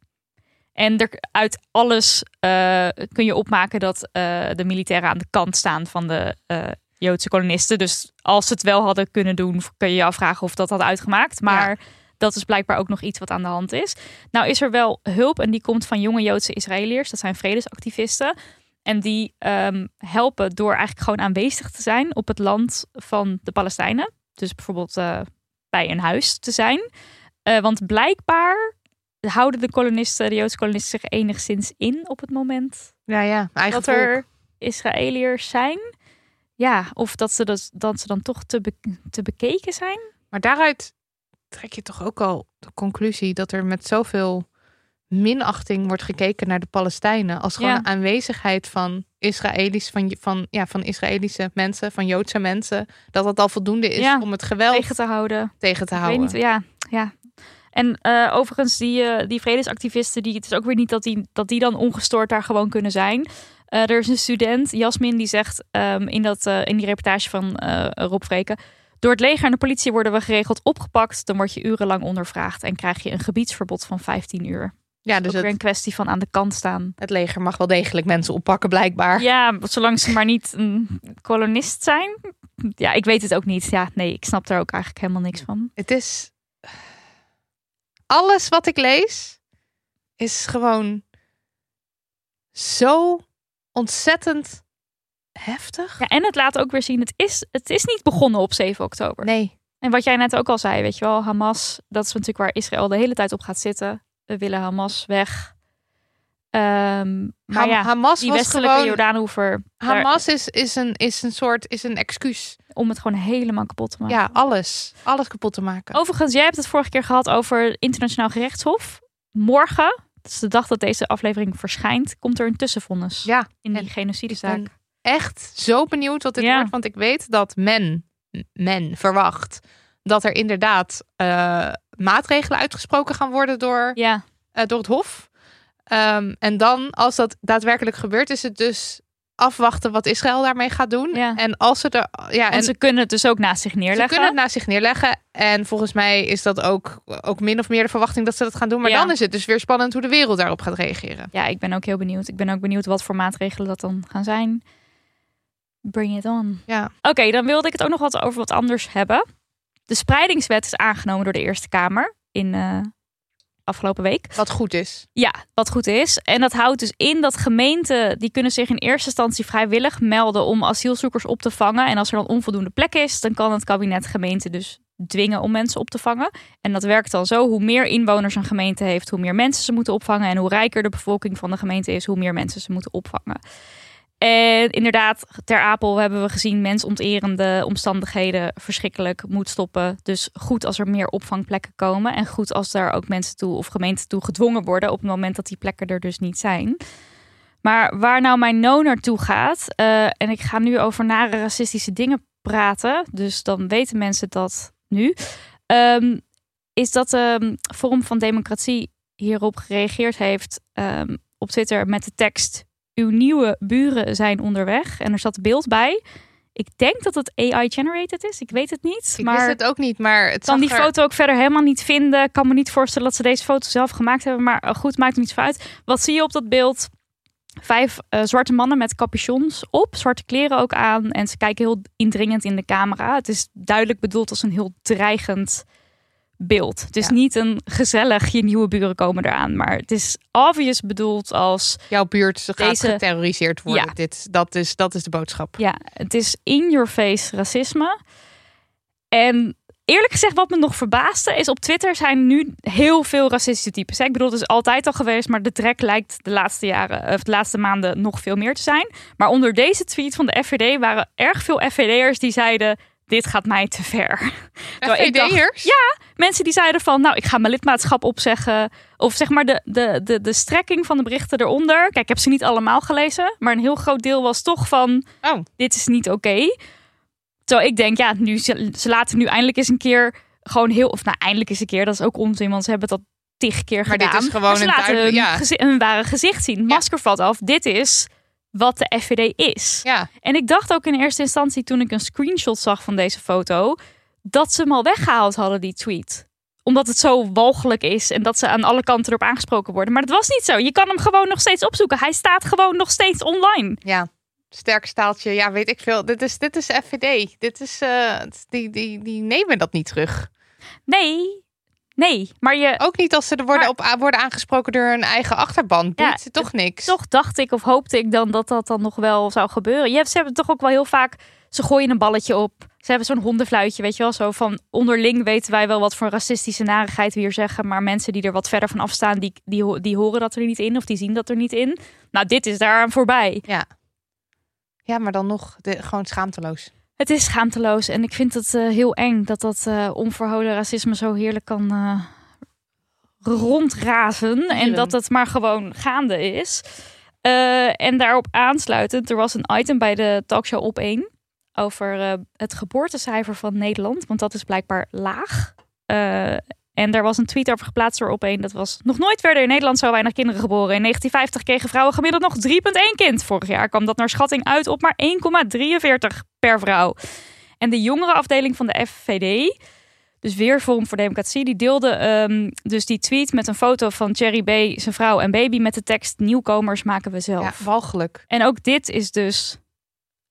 [SPEAKER 3] En er, uit alles eh, kun je opmaken dat eh, de militairen aan de kant staan van de eh, Joodse kolonisten. Dus als ze het wel hadden kunnen doen, kun je je afvragen of dat had uitgemaakt. Maar dat is blijkbaar ook nog iets wat aan de hand is. Nou is er wel hulp en die komt van jonge Joodse Israëliërs. Dat zijn vredesactivisten. En die ehm, helpen door eigenlijk gewoon aanwezig te zijn op het land van de Palestijnen. Dus bijvoorbeeld eh, bij een huis te zijn. Eh, want blijkbaar houden de kolonisten, de Joodse kolonisten zich enigszins in op het moment
[SPEAKER 2] Nou ja, eigenlijk.
[SPEAKER 3] dat er Israëliërs zijn. Ja, of dat ze, dat, dat ze dan toch te, be- te bekeken zijn.
[SPEAKER 2] Maar daaruit trek je toch ook al de conclusie dat er met zoveel minachting wordt gekeken naar de Palestijnen. Als gewoon
[SPEAKER 3] Ja.
[SPEAKER 2] een aanwezigheid van Israëli's, van, van, ja, van Israëlische mensen, van Joodse mensen. Dat dat al voldoende is
[SPEAKER 3] Ja.
[SPEAKER 2] om het geweld
[SPEAKER 3] tegen te houden.
[SPEAKER 2] tegen te
[SPEAKER 3] Ik weet
[SPEAKER 2] houden.
[SPEAKER 3] niet, ja. ja. En eh, overigens, die, eh, die vredesactivisten, die, het is ook weer niet dat die, dat die dan ongestoord daar gewoon kunnen zijn. Eh, er is een student, Jasmin, die zegt ehm, in, dat, eh, in die reportage van eh Rob Vreken... Door het leger en de politie worden we geregeld opgepakt. Dan word je urenlang ondervraagd en krijg je een gebiedsverbod van 15 uur.
[SPEAKER 2] ja,
[SPEAKER 3] Dus
[SPEAKER 2] dus
[SPEAKER 3] ook weer
[SPEAKER 2] het,
[SPEAKER 3] een kwestie van aan de kant staan.
[SPEAKER 2] het leger mag wel degelijk mensen oppakken, blijkbaar.
[SPEAKER 3] Ja, zolang ze maar niet een kolonist zijn. Ja, ik weet het ook niet. Ja, nee, ik snap daar ook eigenlijk helemaal niks van.
[SPEAKER 2] Het is. Alles wat ik lees is gewoon zo ontzettend heftig.
[SPEAKER 3] Ja, en het laat ook weer zien, het is, het is niet begonnen op 7 oktober.
[SPEAKER 2] Nee,
[SPEAKER 3] En wat jij net ook al zei, weet je wel, Hamas, dat is natuurlijk waar Israël de hele tijd op gaat zitten. We willen Hamas weg. Ehm, maar
[SPEAKER 2] Ham-
[SPEAKER 3] ja,
[SPEAKER 2] Hamas
[SPEAKER 3] die
[SPEAKER 2] was
[SPEAKER 3] westelijke
[SPEAKER 2] gewoon.
[SPEAKER 3] Jordaanhoever, daar-
[SPEAKER 2] Hamas is, is, een, is een soort is een excuus.
[SPEAKER 3] om het gewoon helemaal kapot te maken.
[SPEAKER 2] Ja, alles. Alles kapot te maken.
[SPEAKER 3] Overigens, jij hebt het vorige keer gehad over het internationaal gerechtshof. Morgen, dat is de dag dat deze aflevering verschijnt, komt er een tussenvonnis
[SPEAKER 2] Ja,
[SPEAKER 3] in die
[SPEAKER 2] en
[SPEAKER 3] genocidezaak.
[SPEAKER 2] ik echt zo benieuwd wat dit
[SPEAKER 3] Ja.
[SPEAKER 2] wordt. Want ik weet dat men, men verwacht dat er inderdaad eh, maatregelen uitgesproken gaan worden door
[SPEAKER 3] Ja,
[SPEAKER 2] eh, door het Hof. Ehm, en dan, als dat daadwerkelijk gebeurt, is het dus afwachten wat Israël daarmee gaat doen.
[SPEAKER 3] Ja.
[SPEAKER 2] En als ze er. Ja,
[SPEAKER 3] en,
[SPEAKER 2] en
[SPEAKER 3] ze kunnen het dus ook naast zich
[SPEAKER 2] ze
[SPEAKER 3] neerleggen.
[SPEAKER 2] kunnen het naast zich neerleggen. En volgens mij is dat ook, ook min of meer de verwachting dat ze dat gaan doen. Maar
[SPEAKER 3] Ja.
[SPEAKER 2] dan is het dus weer spannend hoe de wereld daarop gaat reageren.
[SPEAKER 3] ja, ik ben ook heel benieuwd. Ik ben ook benieuwd wat voor maatregelen dat dan gaan zijn. Bring it on.
[SPEAKER 2] Ja.
[SPEAKER 3] Oké, dan wilde ik het ook nog wat over wat anders hebben. De spreidingswet is aangenomen door de Eerste Kamer in eh, afgelopen week.
[SPEAKER 2] Wat goed is.
[SPEAKER 3] Ja, wat goed is. En dat houdt dus in dat gemeenten die kunnen zich in eerste instantie vrijwillig melden om asielzoekers op te vangen. En als er dan onvoldoende plek is, dan kan het kabinet gemeenten dus dwingen om mensen op te vangen. En dat werkt dan zo: hoe meer inwoners een gemeente heeft, hoe meer mensen ze moeten opvangen. En hoe rijker de bevolking van de gemeente is, hoe meer mensen ze moeten opvangen. En inderdaad, ter Apel hebben we gezien mensonterende omstandigheden verschrikkelijk moet stoppen. Dus goed als er meer opvangplekken komen. En goed als daar ook mensen toe of gemeenten toe gedwongen worden op het moment dat die plekken er dus niet zijn. Maar waar nou mijn no naartoe gaat, eh, en ik ga nu over nare racistische dingen praten, dus dan weten mensen dat nu, ehm, is dat de Forum van Democratie hierop gereageerd heeft ehm, op Twitter met de tekst uw nieuwe buren zijn onderweg. En er zat beeld bij. Ik denk dat het AI-generated is. Ik weet het niet.
[SPEAKER 2] Ik wist
[SPEAKER 3] maar
[SPEAKER 2] het ook niet, maar het
[SPEAKER 3] kan
[SPEAKER 2] zag
[SPEAKER 3] die
[SPEAKER 2] er-
[SPEAKER 3] foto ook verder helemaal niet vinden. Ik kan me niet voorstellen dat ze deze foto zelf gemaakt hebben. Maar eh, goed, maakt er niet van uit. Wat zie je op dat beeld? Vijf eh, zwarte mannen met capuchons op, zwarte kleren ook aan. En ze kijken heel indringend in de camera. Het is duidelijk bedoeld als een heel dreigend beeld. Het is
[SPEAKER 2] Ja.
[SPEAKER 3] niet een gezellig, je nieuwe buren komen eraan. Maar het is obvious bedoeld als
[SPEAKER 2] Jouw buurt gaat
[SPEAKER 3] Deze-
[SPEAKER 2] geterroriseerd worden.
[SPEAKER 3] Ja.
[SPEAKER 2] Dit, dat, is, dat is de boodschap.
[SPEAKER 3] Ja, het is in your face racisme. En eerlijk gezegd, wat me nog verbaasde, is op Twitter zijn nu heel veel racistische types. hè. Ik bedoel, het is altijd al geweest, maar de trek lijkt de laatste jaren, of de laatste maanden nog veel meer te zijn. Maar onder deze tweet van de FVD waren erg veel FVD'ers die zeiden: Dit gaat mij te ver. Terwijl ik dacht-
[SPEAKER 2] FVD'ers?
[SPEAKER 3] Ja, mensen die zeiden van, nou, ik ga mijn lidmaatschap opzeggen. Of zeg maar de, de, de, de strekking van de berichten eronder. Kijk, ik heb ze niet allemaal gelezen. Maar een heel groot deel was toch van,
[SPEAKER 2] Oh.
[SPEAKER 3] dit is niet oké. Terwijl ik denk, ja, nu, ze, ze laten nu eindelijk eens een keer gewoon heel... Of nou, eindelijk eens een keer, dat is ook onzin, want ze hebben dat tig keer
[SPEAKER 2] Maar dit
[SPEAKER 3] gedaan.
[SPEAKER 2] is gewoon
[SPEAKER 3] ze
[SPEAKER 2] een
[SPEAKER 3] laten hun,
[SPEAKER 2] duidelijk- ja.
[SPEAKER 3] gezi- hun ware gezicht zien. Masker valt af. Dit is wat de FVD is.
[SPEAKER 2] Ja.
[SPEAKER 3] En ik dacht ook in eerste instantie toen ik een screenshot zag van deze foto, dat ze hem al weggehaald hadden, die tweet. Omdat het zo walgelijk is en dat ze aan alle kanten erop aangesproken worden. Maar dat was niet zo. Je kan hem gewoon nog steeds opzoeken. Hij staat gewoon nog steeds online.
[SPEAKER 2] Ja, sterk staaltje. Ja, weet ik veel. Dit is, dit is FVD. Dit is, eh, het- die, die, die nemen dat niet terug.
[SPEAKER 3] Nee, nee. Maar je,
[SPEAKER 2] Ook niet als ze er worden,
[SPEAKER 3] Maar-
[SPEAKER 2] op, a- worden aangesproken door hun eigen achterban.
[SPEAKER 3] Ja,
[SPEAKER 2] Boeit ze toch niks.
[SPEAKER 3] toch dacht ik of hoopte ik dan dat dat dan nog wel zou gebeuren. Je hebt, ze hebben toch ook wel heel vaak, ze gooien een balletje op. Ze hebben zo'n hondenfluitje, weet je wel, zo van onderling weten wij wel wat voor racistische narigheid we hier zeggen. Maar mensen die er wat verder van afstaan, die, die, ho- die horen dat er niet in of die zien dat er niet in. Nou, dit is daaraan voorbij.
[SPEAKER 2] Ja. ja, maar dan nog de, gewoon schaamteloos.
[SPEAKER 3] Het is schaamteloos en ik vind het eh, heel eng dat dat eh onverholen racisme zo heerlijk kan eh, rondrazen en
[SPEAKER 2] Dieren.
[SPEAKER 3] dat het maar gewoon gaande is. Eh, en daarop aansluitend, er was een item bij de talkshow op 1 over eh, het geboortecijfer van Nederland, want dat is blijkbaar laag. Eh, en daar was een tweet over geplaatst door op 1. Dat was nog nooit werden in Nederland zo weinig kinderen geboren. In 1950 kregen vrouwen gemiddeld nog 3,1 kind. Vorig jaar kwam dat naar schatting uit op maar 1,43 per vrouw. En de jongere afdeling van de FVD dus weer Forum voor Democratie, die deelde ehm, dus die tweet met een foto van Cherry B, zijn vrouw en baby met de tekst nieuwkomers maken we zelf.
[SPEAKER 2] Ja, walgelijk.
[SPEAKER 3] En ook dit is dus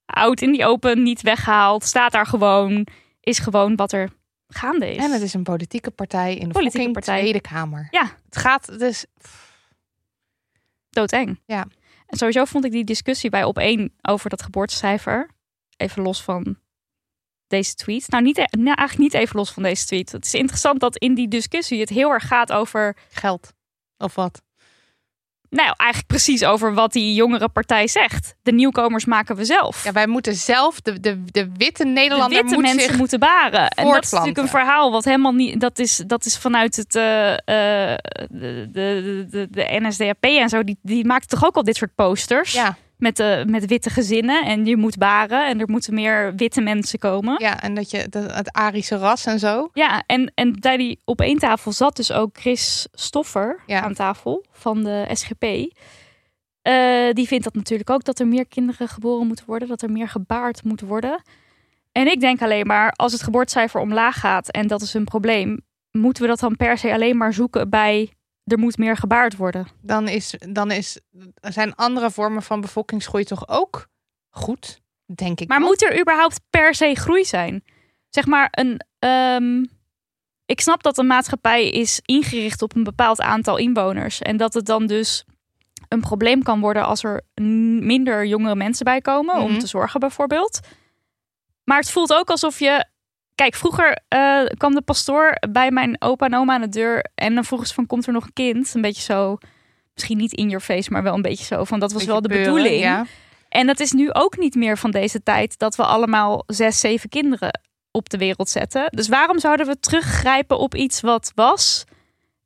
[SPEAKER 3] oud in die open, niet weggehaald, staat daar gewoon, is gewoon wat er gaande is.
[SPEAKER 2] En het is een politieke partij in de
[SPEAKER 3] Politieke
[SPEAKER 2] fucking
[SPEAKER 3] partij.
[SPEAKER 2] Tweede Kamer.
[SPEAKER 3] Ja.
[SPEAKER 2] Het gaat dus...
[SPEAKER 3] doodeng.
[SPEAKER 2] Ja.
[SPEAKER 3] En sowieso vond ik die discussie bij op één over dat geboortecijfer, even los van deze tweet. Nou, niet, e- nou, eigenlijk niet even los van deze tweet. Het is interessant dat in die discussie het heel erg gaat over
[SPEAKER 2] Geld. Of wat?
[SPEAKER 3] Nou, eigenlijk precies over wat die jongere partij zegt. De nieuwkomers maken we zelf.
[SPEAKER 2] Ja, wij moeten zelf, de, de, de witte
[SPEAKER 3] de
[SPEAKER 2] Nederlander
[SPEAKER 3] witte
[SPEAKER 2] moet
[SPEAKER 3] mensen
[SPEAKER 2] zich...
[SPEAKER 3] moeten baren. En dat is natuurlijk
[SPEAKER 2] voortplanten.
[SPEAKER 3] een verhaal wat helemaal niet... Dat is, dat is vanuit het, eh, eh, de, de, de, de NSDAP en zo. Die, die maakt toch ook al dit soort posters?
[SPEAKER 2] Ja,
[SPEAKER 3] Met, eh, met witte gezinnen. En je moet baren. En er moeten meer witte mensen komen.
[SPEAKER 2] ja, en dat je dat, het Arische ras en zo.
[SPEAKER 3] Ja, en, en bij die op één tafel zat dus ook Chris Stoffer
[SPEAKER 2] Ja.
[SPEAKER 3] aan tafel van de SGP. Eh, die vindt dat natuurlijk ook dat er meer kinderen geboren moeten worden, dat er meer gebaard moet worden. En ik denk alleen maar, als het geboortecijfer omlaag gaat en dat is een probleem, moeten we dat dan per se alleen maar zoeken bij er moet meer gebaard worden.
[SPEAKER 2] Dan, is, dan is, zijn andere vormen van bevolkingsgroei toch ook goed, denk ik.
[SPEAKER 3] Maar
[SPEAKER 2] dan.
[SPEAKER 3] moet er überhaupt per se groei zijn? Zeg maar een. ehm, ik snap dat een maatschappij is ingericht op een bepaald aantal inwoners. En dat het dan dus een probleem kan worden als er n- minder jongere mensen bij komen om
[SPEAKER 2] Mhm.
[SPEAKER 3] te zorgen, bijvoorbeeld. Maar het voelt ook alsof je. Kijk, vroeger eh, kwam de pastoor bij mijn opa en oma aan de deur. En dan vroegen ze van, komt er nog een kind? Een beetje zo, misschien niet in your face, maar wel een beetje zo. Van, dat was
[SPEAKER 2] Beetje
[SPEAKER 3] wel de
[SPEAKER 2] peuren,
[SPEAKER 3] bedoeling.
[SPEAKER 2] Ja.
[SPEAKER 3] En dat is nu ook niet meer van deze tijd dat we allemaal zes, zeven kinderen op de wereld zetten. Dus waarom zouden we teruggrijpen op iets wat was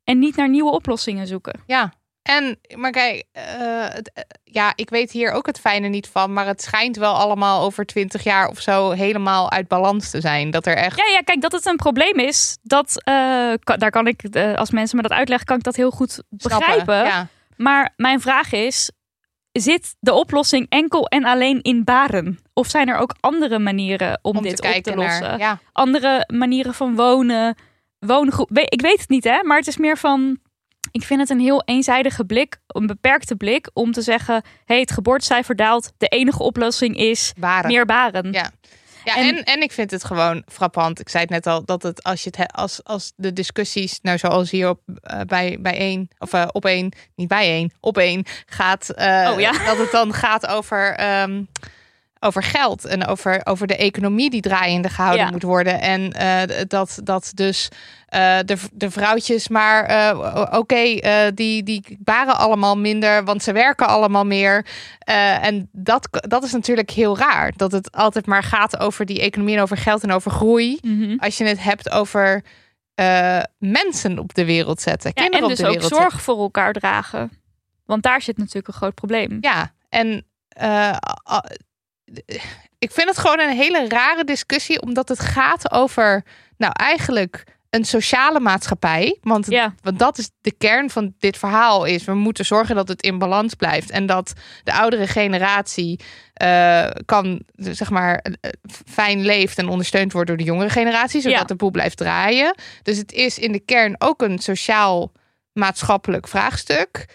[SPEAKER 3] en niet naar nieuwe oplossingen zoeken?
[SPEAKER 2] Ja, en maar kijk, eh, het, eh, ja, ik weet hier ook het fijne niet van, maar het schijnt wel allemaal over twintig jaar of zo helemaal uit balans te zijn. Dat er echt.
[SPEAKER 3] Ja, ja, kijk, dat het een probleem is, dat, eh, ka- daar kan ik, eh, als mensen me dat uitleggen, kan ik dat heel goed
[SPEAKER 2] snappen.
[SPEAKER 3] begrijpen.
[SPEAKER 2] Ja.
[SPEAKER 3] Maar mijn vraag is, zit de oplossing enkel en alleen in baren? Of zijn er ook andere manieren om,
[SPEAKER 2] Om
[SPEAKER 3] dit
[SPEAKER 2] te kijken
[SPEAKER 3] op te lossen?
[SPEAKER 2] naar. Ja,
[SPEAKER 3] andere manieren van wonen. woongroep. We- Ik weet het niet, hè? Maar het is meer van. Ik vind het een heel eenzijdige blik, een beperkte blik, om te zeggen: hey, het geboortecijfer daalt. De enige oplossing is
[SPEAKER 2] baren.
[SPEAKER 3] meer baren.
[SPEAKER 2] Ja. Ja,
[SPEAKER 3] En-
[SPEAKER 2] en, en ik vind het gewoon frappant. Ik zei het net al, dat het als, je het he- als, als de discussies, nou zoals hier op, eh, bij, bij één, of eh, op één, niet bij één, op één gaat, eh,
[SPEAKER 3] Oh ja.
[SPEAKER 2] dat het dan gaat over, ehm, over geld en over, over de economie die draaiende gehouden
[SPEAKER 3] Ja.
[SPEAKER 2] moet worden. En eh, dat, dat dus eh, de, v- de vrouwtjes maar, eh, oké, eh, die, die baren allemaal minder, want ze werken allemaal meer. Eh, en dat, dat is natuurlijk heel raar. Dat het altijd maar gaat over die economie en over geld en over groei.
[SPEAKER 3] Mhm.
[SPEAKER 2] Als je het hebt over eh, mensen op de wereld zetten.
[SPEAKER 3] Ja,
[SPEAKER 2] kinderen
[SPEAKER 3] en
[SPEAKER 2] op
[SPEAKER 3] dus
[SPEAKER 2] de
[SPEAKER 3] ook
[SPEAKER 2] wereld
[SPEAKER 3] zorg voor elkaar dragen. Want daar zit natuurlijk een groot probleem.
[SPEAKER 2] zetten. Ja, en eh, a- ik vind het gewoon een hele rare discussie. Omdat het gaat over, nou eigenlijk een sociale maatschappij. Want
[SPEAKER 3] Ja.
[SPEAKER 2] Want dat is de kern van dit verhaal is. We moeten zorgen dat het in balans blijft. En dat de oudere generatie eh, kan, zeg maar, eh, fijn leeft en ondersteund wordt door de jongere generatie. Zodat
[SPEAKER 3] Ja.
[SPEAKER 2] de boel blijft draaien. Dus het is in de kern ook een sociaal maatschappelijk vraagstuk.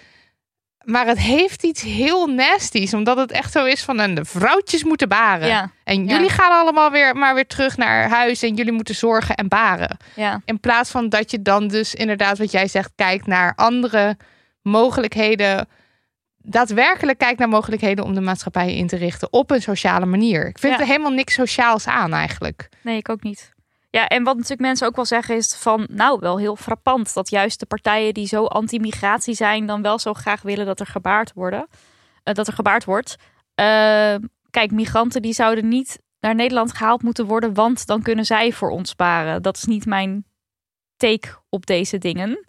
[SPEAKER 2] Maar het heeft iets heel nasties. Omdat het echt zo is van en de vrouwtjes moeten baren.
[SPEAKER 3] Ja,
[SPEAKER 2] En
[SPEAKER 3] ja.
[SPEAKER 2] jullie gaan allemaal weer maar weer terug naar huis. En jullie moeten zorgen en baren.
[SPEAKER 3] ja.
[SPEAKER 2] In plaats van dat je dan dus inderdaad, wat jij zegt, kijkt naar andere mogelijkheden. Daadwerkelijk kijkt naar mogelijkheden om de maatschappij in te richten op een sociale manier. Ik vind
[SPEAKER 3] Ja.
[SPEAKER 2] er helemaal niks sociaals aan eigenlijk.
[SPEAKER 3] Nee, ik ook niet. Ja, en wat natuurlijk mensen ook wel zeggen is van, nou, wel heel frappant dat juist de partijen die zo anti-migratie zijn, dan wel zo graag willen dat er gebaard worden, eh, dat er gebaard wordt. Eh, kijk, migranten die zouden niet naar Nederland gehaald moeten worden, want dan kunnen zij voor ons sparen. Dat is niet mijn take op deze dingen.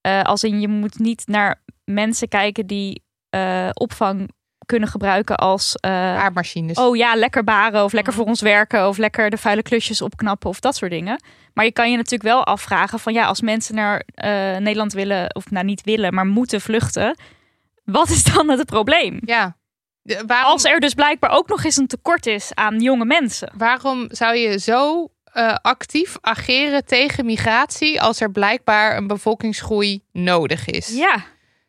[SPEAKER 3] Eh, als in je moet niet naar mensen kijken die eh, opvang kunnen gebruiken als eh,
[SPEAKER 2] Aardmachines.
[SPEAKER 3] Oh ja, lekker baren of lekker voor ons werken of lekker de vuile klusjes opknappen of dat soort dingen. Maar je kan je natuurlijk wel afvragen van ja, als mensen naar eh, Nederland willen of nou niet willen, maar moeten vluchten, wat is dan het probleem?
[SPEAKER 2] Ja. De- waarom,
[SPEAKER 3] Als er dus blijkbaar ook nog eens een tekort is aan jonge mensen.
[SPEAKER 2] waarom zou je zo eh, actief ageren tegen migratie als er blijkbaar een bevolkingsgroei nodig is?
[SPEAKER 3] Ja,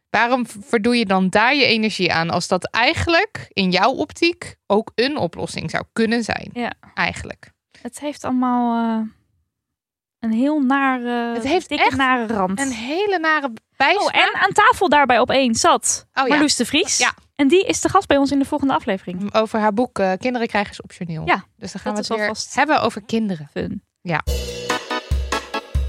[SPEAKER 2] Waarom v- verdoe je dan daar je energie aan als dat eigenlijk in jouw optiek ook een oplossing zou kunnen zijn?
[SPEAKER 3] Ja.
[SPEAKER 2] Eigenlijk.
[SPEAKER 3] het heeft allemaal eh, een heel naar, eh,
[SPEAKER 2] Het heeft
[SPEAKER 3] dikke
[SPEAKER 2] echt
[SPEAKER 3] nare rand.
[SPEAKER 2] Een hele nare bijsmaak.
[SPEAKER 3] Oh, en aan tafel daarbij opeens zat
[SPEAKER 2] Oh, ja.
[SPEAKER 3] Marloes de Vries.
[SPEAKER 2] Ja.
[SPEAKER 3] En die is de gast bij ons in de volgende aflevering.
[SPEAKER 2] Over haar boek eh, Kinderen krijgen is optioneel.
[SPEAKER 3] Ja,
[SPEAKER 2] dus dan gaan we
[SPEAKER 3] dat
[SPEAKER 2] het
[SPEAKER 3] is
[SPEAKER 2] weer
[SPEAKER 3] alvast-
[SPEAKER 2] hebben over kinderen.
[SPEAKER 3] Fun.
[SPEAKER 2] Ja.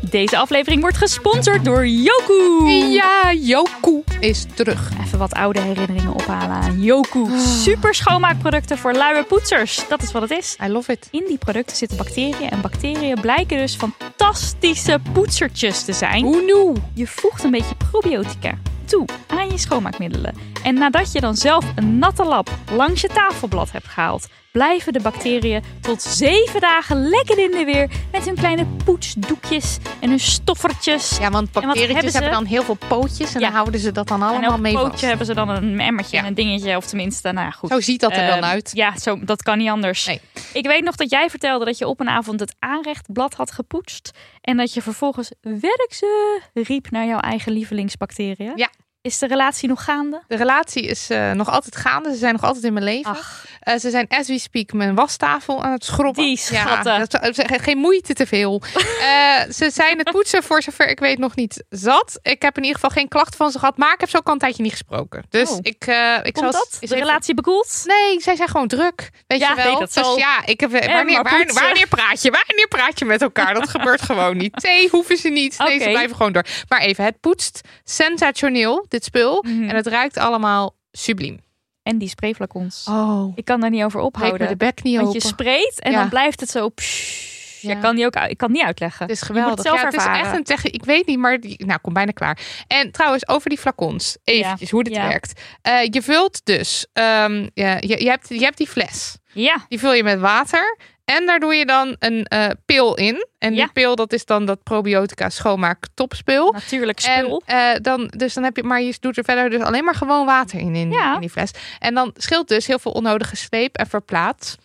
[SPEAKER 3] Deze aflevering wordt gesponsord door Yoku.
[SPEAKER 2] Ja, Joku is terug.
[SPEAKER 3] Even wat oude herinneringen ophalen aan
[SPEAKER 2] Ah.
[SPEAKER 3] Yoku. Super schoonmaakproducten voor luie poetsers. Dat is wat het is.
[SPEAKER 2] I love it.
[SPEAKER 3] In die producten zitten bacteriën en bacteriën blijken dus fantastische poetsertjes te zijn.
[SPEAKER 2] Hoe nu?
[SPEAKER 3] Je voegt een beetje probiotica toe aan je schoonmaakmiddelen. En nadat je dan zelf een natte lap langs je tafelblad hebt gehaald, blijven de bacteriën tot zeven dagen lekker in de weer met hun kleine poetsdoekjes en hun stoffertjes.
[SPEAKER 2] Ja, want
[SPEAKER 3] wat
[SPEAKER 2] bacteriën
[SPEAKER 3] hebben
[SPEAKER 2] hebben,
[SPEAKER 3] ze?
[SPEAKER 2] dan heel veel pootjes en
[SPEAKER 3] Ja.
[SPEAKER 2] dan houden ze dat dan
[SPEAKER 3] en
[SPEAKER 2] allemaal
[SPEAKER 3] elk
[SPEAKER 2] mee
[SPEAKER 3] pootje
[SPEAKER 2] vast.
[SPEAKER 3] hebben ze dan een emmertje
[SPEAKER 2] Ja.
[SPEAKER 3] en een dingetje, of tenminste, nou ja, goed.
[SPEAKER 2] Zo ziet dat er dan
[SPEAKER 3] Ehm,
[SPEAKER 2] uit.
[SPEAKER 3] Ja, zo, dat kan niet anders.
[SPEAKER 2] Nee.
[SPEAKER 3] Ik weet nog dat jij vertelde dat je op een avond het aanrechtblad had gepoetst. En dat je vervolgens werk ze riep naar jouw eigen lievelingsbacteriën.
[SPEAKER 2] Ja.
[SPEAKER 3] Is de relatie nog gaande?
[SPEAKER 2] De relatie is eh, nog altijd gaande. Ze zijn nog altijd in mijn leven.
[SPEAKER 3] Ach,
[SPEAKER 2] Eh, ze zijn, as we speak, mijn wastafel aan het schrobben.
[SPEAKER 3] Die schatten.
[SPEAKER 2] Ja, dat, dat- geen moeite te veel. Eh, ze zijn het poetsen, voor zover ik weet, nog niet zat. Ik heb in ieder geval geen klacht van ze gehad. Maar ik heb ze ook al een tijdje niet gesproken. Dus
[SPEAKER 3] Oh.
[SPEAKER 2] ik, eh ik zal
[SPEAKER 3] komt
[SPEAKER 2] eens-
[SPEAKER 3] dat?
[SPEAKER 2] eens
[SPEAKER 3] De
[SPEAKER 2] even-
[SPEAKER 3] relatie bekoeld?
[SPEAKER 2] Nee, zij zijn gewoon druk. Weet
[SPEAKER 3] Ja,
[SPEAKER 2] je wel?
[SPEAKER 3] nee, dat
[SPEAKER 2] dus
[SPEAKER 3] zal.
[SPEAKER 2] ja, ik heb, wanneer,
[SPEAKER 3] maar
[SPEAKER 2] waar-
[SPEAKER 3] poetsen.
[SPEAKER 2] wanneer praat je? Wanneer praat je met elkaar? Dat gebeurt gewoon niet. Thee hoeven ze niet. Nee,
[SPEAKER 3] Oké.
[SPEAKER 2] ze blijven gewoon door. Maar even, het poetst sensationeel, dit spul.
[SPEAKER 3] Mhm.
[SPEAKER 2] En het ruikt allemaal subliem.
[SPEAKER 3] En die sprayflacons.
[SPEAKER 2] Oh,
[SPEAKER 3] Ik kan daar niet over
[SPEAKER 2] breek me
[SPEAKER 3] ophouden.
[SPEAKER 2] de bek niet
[SPEAKER 3] Want
[SPEAKER 2] open.
[SPEAKER 3] je sprayt en
[SPEAKER 2] Ja.
[SPEAKER 3] dan blijft het zo... pssst.
[SPEAKER 2] Ja.
[SPEAKER 3] Je kan die ook, ik kan het niet uitleggen.
[SPEAKER 2] Het is geweldig.
[SPEAKER 3] zelf
[SPEAKER 2] ja, het is
[SPEAKER 3] ervaren.
[SPEAKER 2] echt een techniek. Ik weet niet, maar die, nou, kom bijna klaar. En trouwens, over die flacons. Eventjes, hoe dit
[SPEAKER 3] ja.
[SPEAKER 2] werkt. Eh, je vult dus, ehm, ja, je, je, hebt, je hebt die fles.
[SPEAKER 3] Ja,
[SPEAKER 2] Die vul je met water. En daar doe je dan een eh, pil in. En
[SPEAKER 3] Ja.
[SPEAKER 2] die pil, dat is dan dat probiotica schoonmaak topspul.
[SPEAKER 3] natuurlijk
[SPEAKER 2] En
[SPEAKER 3] spul.
[SPEAKER 2] eh, dan, dus dan heb je, maar je doet er verder dus alleen maar gewoon water in, in, die-
[SPEAKER 3] Ja.
[SPEAKER 2] in die fles. En dan scheelt dus heel veel onnodige sleep en verplaats.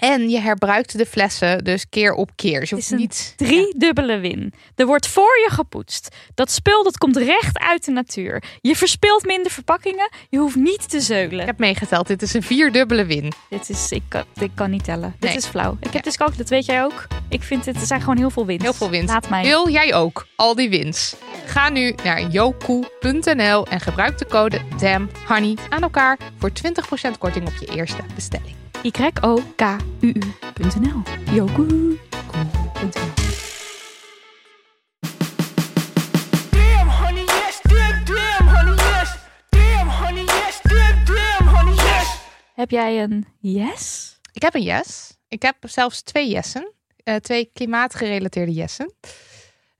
[SPEAKER 2] En je herbruikt de flessen dus keer op keer. Dus je
[SPEAKER 3] Het is
[SPEAKER 2] hoeft
[SPEAKER 3] een
[SPEAKER 2] niet...
[SPEAKER 3] Drie dubbele win. Er wordt voor je gepoetst. Dat spul dat komt recht uit de natuur. Je verspilt minder verpakkingen. Je hoeft niet te zeulen.
[SPEAKER 2] Ik heb meegeteld. Dit is een vierdubbele win.
[SPEAKER 3] Dit is, ik, kan, ik kan niet tellen. Dit
[SPEAKER 2] Nee.
[SPEAKER 3] is flauw. Ik heb
[SPEAKER 2] Ja.
[SPEAKER 3] dus ook, dat weet jij ook. Ik vind dit, er zijn gewoon heel veel winst.
[SPEAKER 2] Heel veel winst.
[SPEAKER 3] Laat mij.
[SPEAKER 2] Wil jij ook al die wins? Ga nu naar yoku.nl en gebruik de code DAMHoney aan elkaar voor 20% korting op je eerste bestelling.
[SPEAKER 3] Y-O-K-U-U.nl Yoku.
[SPEAKER 5] Damn, honey, yes. Damn, damn, honey, yes. Damn, honey, yes. Damn, damn, honey, yes.
[SPEAKER 3] Heb jij een yes?
[SPEAKER 2] Ik heb een yes. Ik heb zelfs twee yessen. Eh, twee klimaatgerelateerde yessen.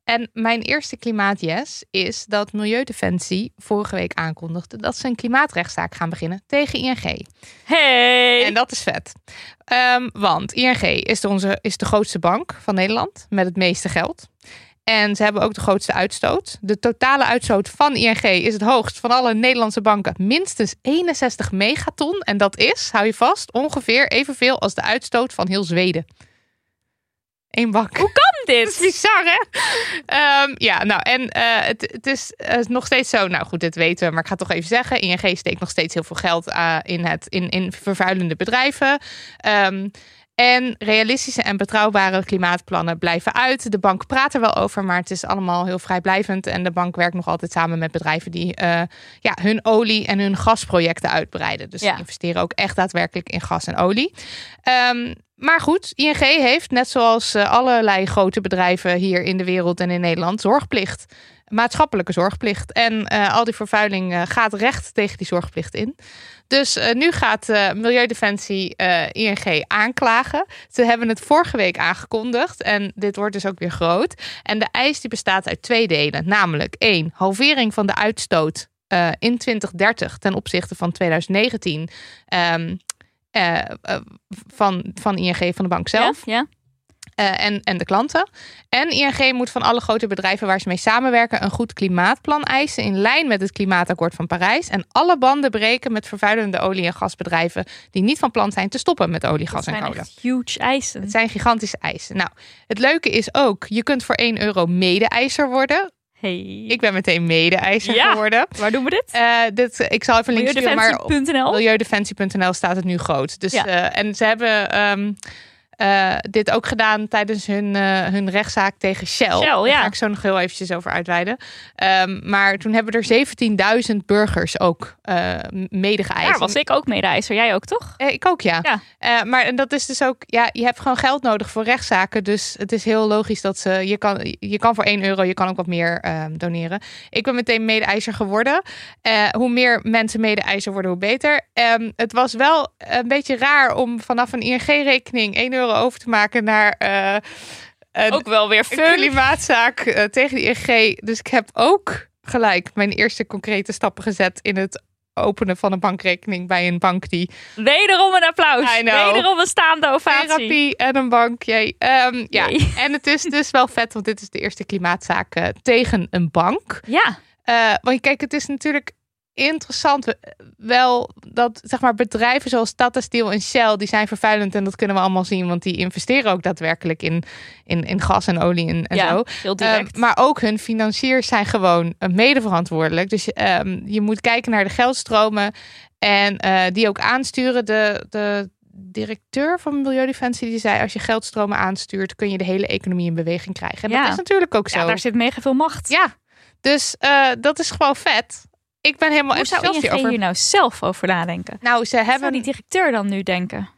[SPEAKER 2] En mijn eerste klimaatjes is dat Milieudefensie vorige week aankondigde dat ze een klimaatrechtszaak gaan beginnen tegen ING.
[SPEAKER 3] Hey!
[SPEAKER 2] En dat is vet. Ehm, want ING is de, onze, is de grootste bank van Nederland met het meeste geld. En ze hebben ook de grootste uitstoot. De totale uitstoot van ING is het hoogst van alle Nederlandse banken. Minstens 61 megaton. En dat is, hou je vast, ongeveer evenveel als de uitstoot van heel Zweden. Eén bank. Dat is
[SPEAKER 3] dit?
[SPEAKER 2] bizar, hè? Ehm, ja, nou, en eh, het, het is eh, nog steeds zo. Nou goed, dit weten we, maar ik ga het toch even zeggen. ING steekt nog steeds heel veel geld eh, in, het, in, in vervuilende bedrijven. Ehm, en realistische en betrouwbare klimaatplannen blijven uit. De bank praat er wel over, maar het is allemaal heel vrijblijvend. En de bank werkt nog altijd samen met bedrijven die eh, ja, hun olie- en hun gasprojecten uitbreiden. Dus
[SPEAKER 3] Ja.
[SPEAKER 2] ze investeren ook echt daadwerkelijk in gas en olie. Ehm, maar goed, ING heeft, net zoals eh, allerlei grote bedrijven hier in de wereld en in Nederland, zorgplicht. Eh, maatschappelijke zorgplicht. En eh, al die vervuiling eh, gaat recht tegen die zorgplicht in. Dus eh, nu gaat eh, Milieudefensie eh, ING aanklagen. Ze hebben het vorige week aangekondigd en dit wordt dus ook weer groot. En de eis die bestaat uit twee delen, namelijk één, halvering van de uitstoot eh, in 2030 ten opzichte van 2019 ehm, eh, eh, van, van ING van de bank zelf.
[SPEAKER 3] Ja? ja?
[SPEAKER 2] Eh, en, en de klanten. En ING moet van alle grote bedrijven waar ze mee samenwerken een goed klimaatplan eisen in lijn met het klimaatakkoord van Parijs. En alle banden breken met vervuilende olie- en gasbedrijven die niet van plan zijn te stoppen met olie,
[SPEAKER 3] Dat
[SPEAKER 2] gas en
[SPEAKER 3] zijn
[SPEAKER 2] kolen.
[SPEAKER 3] echt huge eisen.
[SPEAKER 2] Het zijn gigantische eisen. Nou, het leuke is ook, je kunt voor 1 euro mede-eiser worden.
[SPEAKER 3] Hey.
[SPEAKER 2] Ik ben meteen mede-eiser
[SPEAKER 3] Ja.
[SPEAKER 2] geworden.
[SPEAKER 3] Waar doen we dit?
[SPEAKER 2] Eh, dit, ik zal even een link sturen, maar op
[SPEAKER 3] Milieudefensie.nl.
[SPEAKER 2] milieudefensie.nl staat het nu groot. Dus,
[SPEAKER 3] Ja.
[SPEAKER 2] eh, en ze hebben ehm, eh, dit ook gedaan tijdens hun, eh, hun rechtszaak tegen Shell.
[SPEAKER 3] Shell,
[SPEAKER 2] Daar
[SPEAKER 3] ja.
[SPEAKER 2] ga ik zo nog heel eventjes over uitweiden. Ehm, maar toen hebben er 17.000 burgers ook eh mede geëist.
[SPEAKER 3] Daar was ik ook mede-eiser. Jij ook, toch?
[SPEAKER 2] Eh, Ik ook, ja.
[SPEAKER 3] Ja.
[SPEAKER 2] Eh, maar en dat is dus ook, ja, je hebt gewoon geld nodig voor rechtszaken. Dus het is heel logisch dat ze, je kan, je kan voor 1 euro, je kan ook wat meer ehm, doneren. Ik ben meteen mede-eiser geworden. Eh, hoe meer mensen mede-eiser worden, hoe beter. Ehm, het was wel een beetje raar om vanaf een ING-rekening 1 euro over te maken naar eh, een,
[SPEAKER 3] Ook wel weer
[SPEAKER 2] een
[SPEAKER 3] fun.
[SPEAKER 2] klimaatzaak eh, tegen de ING. Dus ik heb ook gelijk mijn eerste concrete stappen gezet in het openen van een bankrekening bij een bank die
[SPEAKER 3] Wederom een applaus.
[SPEAKER 2] I know.
[SPEAKER 3] Wederom een staande ovatie.
[SPEAKER 2] Therapie en een bank. Jee. Ehm, ja.
[SPEAKER 3] Jee.
[SPEAKER 2] En het is dus wel vet, want dit is de eerste klimaatzaak eh, tegen een bank.
[SPEAKER 3] Ja,
[SPEAKER 2] Eh, want kijk, het is natuurlijk interessant eh, wel dat zeg maar, bedrijven zoals Tata Steel en Shell, die zijn vervuilend en dat kunnen we allemaal zien, want die investeren ook daadwerkelijk in, in, in gas en olie en, en
[SPEAKER 3] ja
[SPEAKER 2] zo.
[SPEAKER 3] heel direct.
[SPEAKER 2] Ehm, maar ook hun financiers zijn gewoon eh, medeverantwoordelijk. Dus ehm, je moet kijken naar de geldstromen en eh, die ook aansturen. De, de directeur van Milieudefensie die zei: als je geldstromen aanstuurt, kun je de hele economie in beweging krijgen. En
[SPEAKER 3] Ja.
[SPEAKER 2] dat is natuurlijk ook zo.
[SPEAKER 3] ja,
[SPEAKER 2] Ja,
[SPEAKER 3] daar zit mega veel macht.
[SPEAKER 2] dus eh, dat is gewoon vet. Ik ben helemaal
[SPEAKER 3] Hoe zou
[SPEAKER 2] enthousiast
[SPEAKER 3] ING
[SPEAKER 2] hierover.
[SPEAKER 3] hier nou zelf over nadenken?
[SPEAKER 2] Nou, ze
[SPEAKER 3] Wat zou
[SPEAKER 2] hebben.
[SPEAKER 3] die directeur dan nu denken?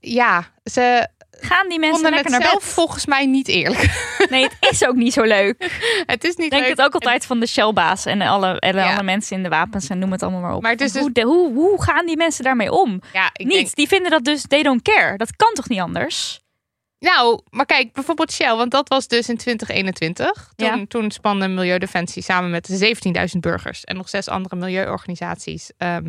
[SPEAKER 2] Ja, ze
[SPEAKER 3] Gaan die mensen
[SPEAKER 2] vonden
[SPEAKER 3] lekker
[SPEAKER 2] het
[SPEAKER 3] naar
[SPEAKER 2] zelf
[SPEAKER 3] bed?
[SPEAKER 2] volgens mij niet eerlijk.
[SPEAKER 3] Nee, het is ook niet zo leuk. Ik
[SPEAKER 2] het is niet
[SPEAKER 3] denk
[SPEAKER 2] leuk.
[SPEAKER 3] het ook altijd van de Shellbaas en alle, en
[SPEAKER 2] Ja.
[SPEAKER 3] alle mensen in de wapens en noem het allemaal maar op.
[SPEAKER 2] Maar het is
[SPEAKER 3] Want hoe, de- hoe, hoe gaan die mensen daarmee om?
[SPEAKER 2] Ja, ik
[SPEAKER 3] niet,
[SPEAKER 2] denk-
[SPEAKER 3] die vinden dat dus they don't care. Dat kan toch niet anders?
[SPEAKER 2] Nou, maar kijk, bijvoorbeeld Shell, want dat was dus in 2021. Toen,
[SPEAKER 3] Ja.
[SPEAKER 2] toen spande Milieudefensie samen met de 17.000 burgers en nog zes andere milieuorganisaties ehm,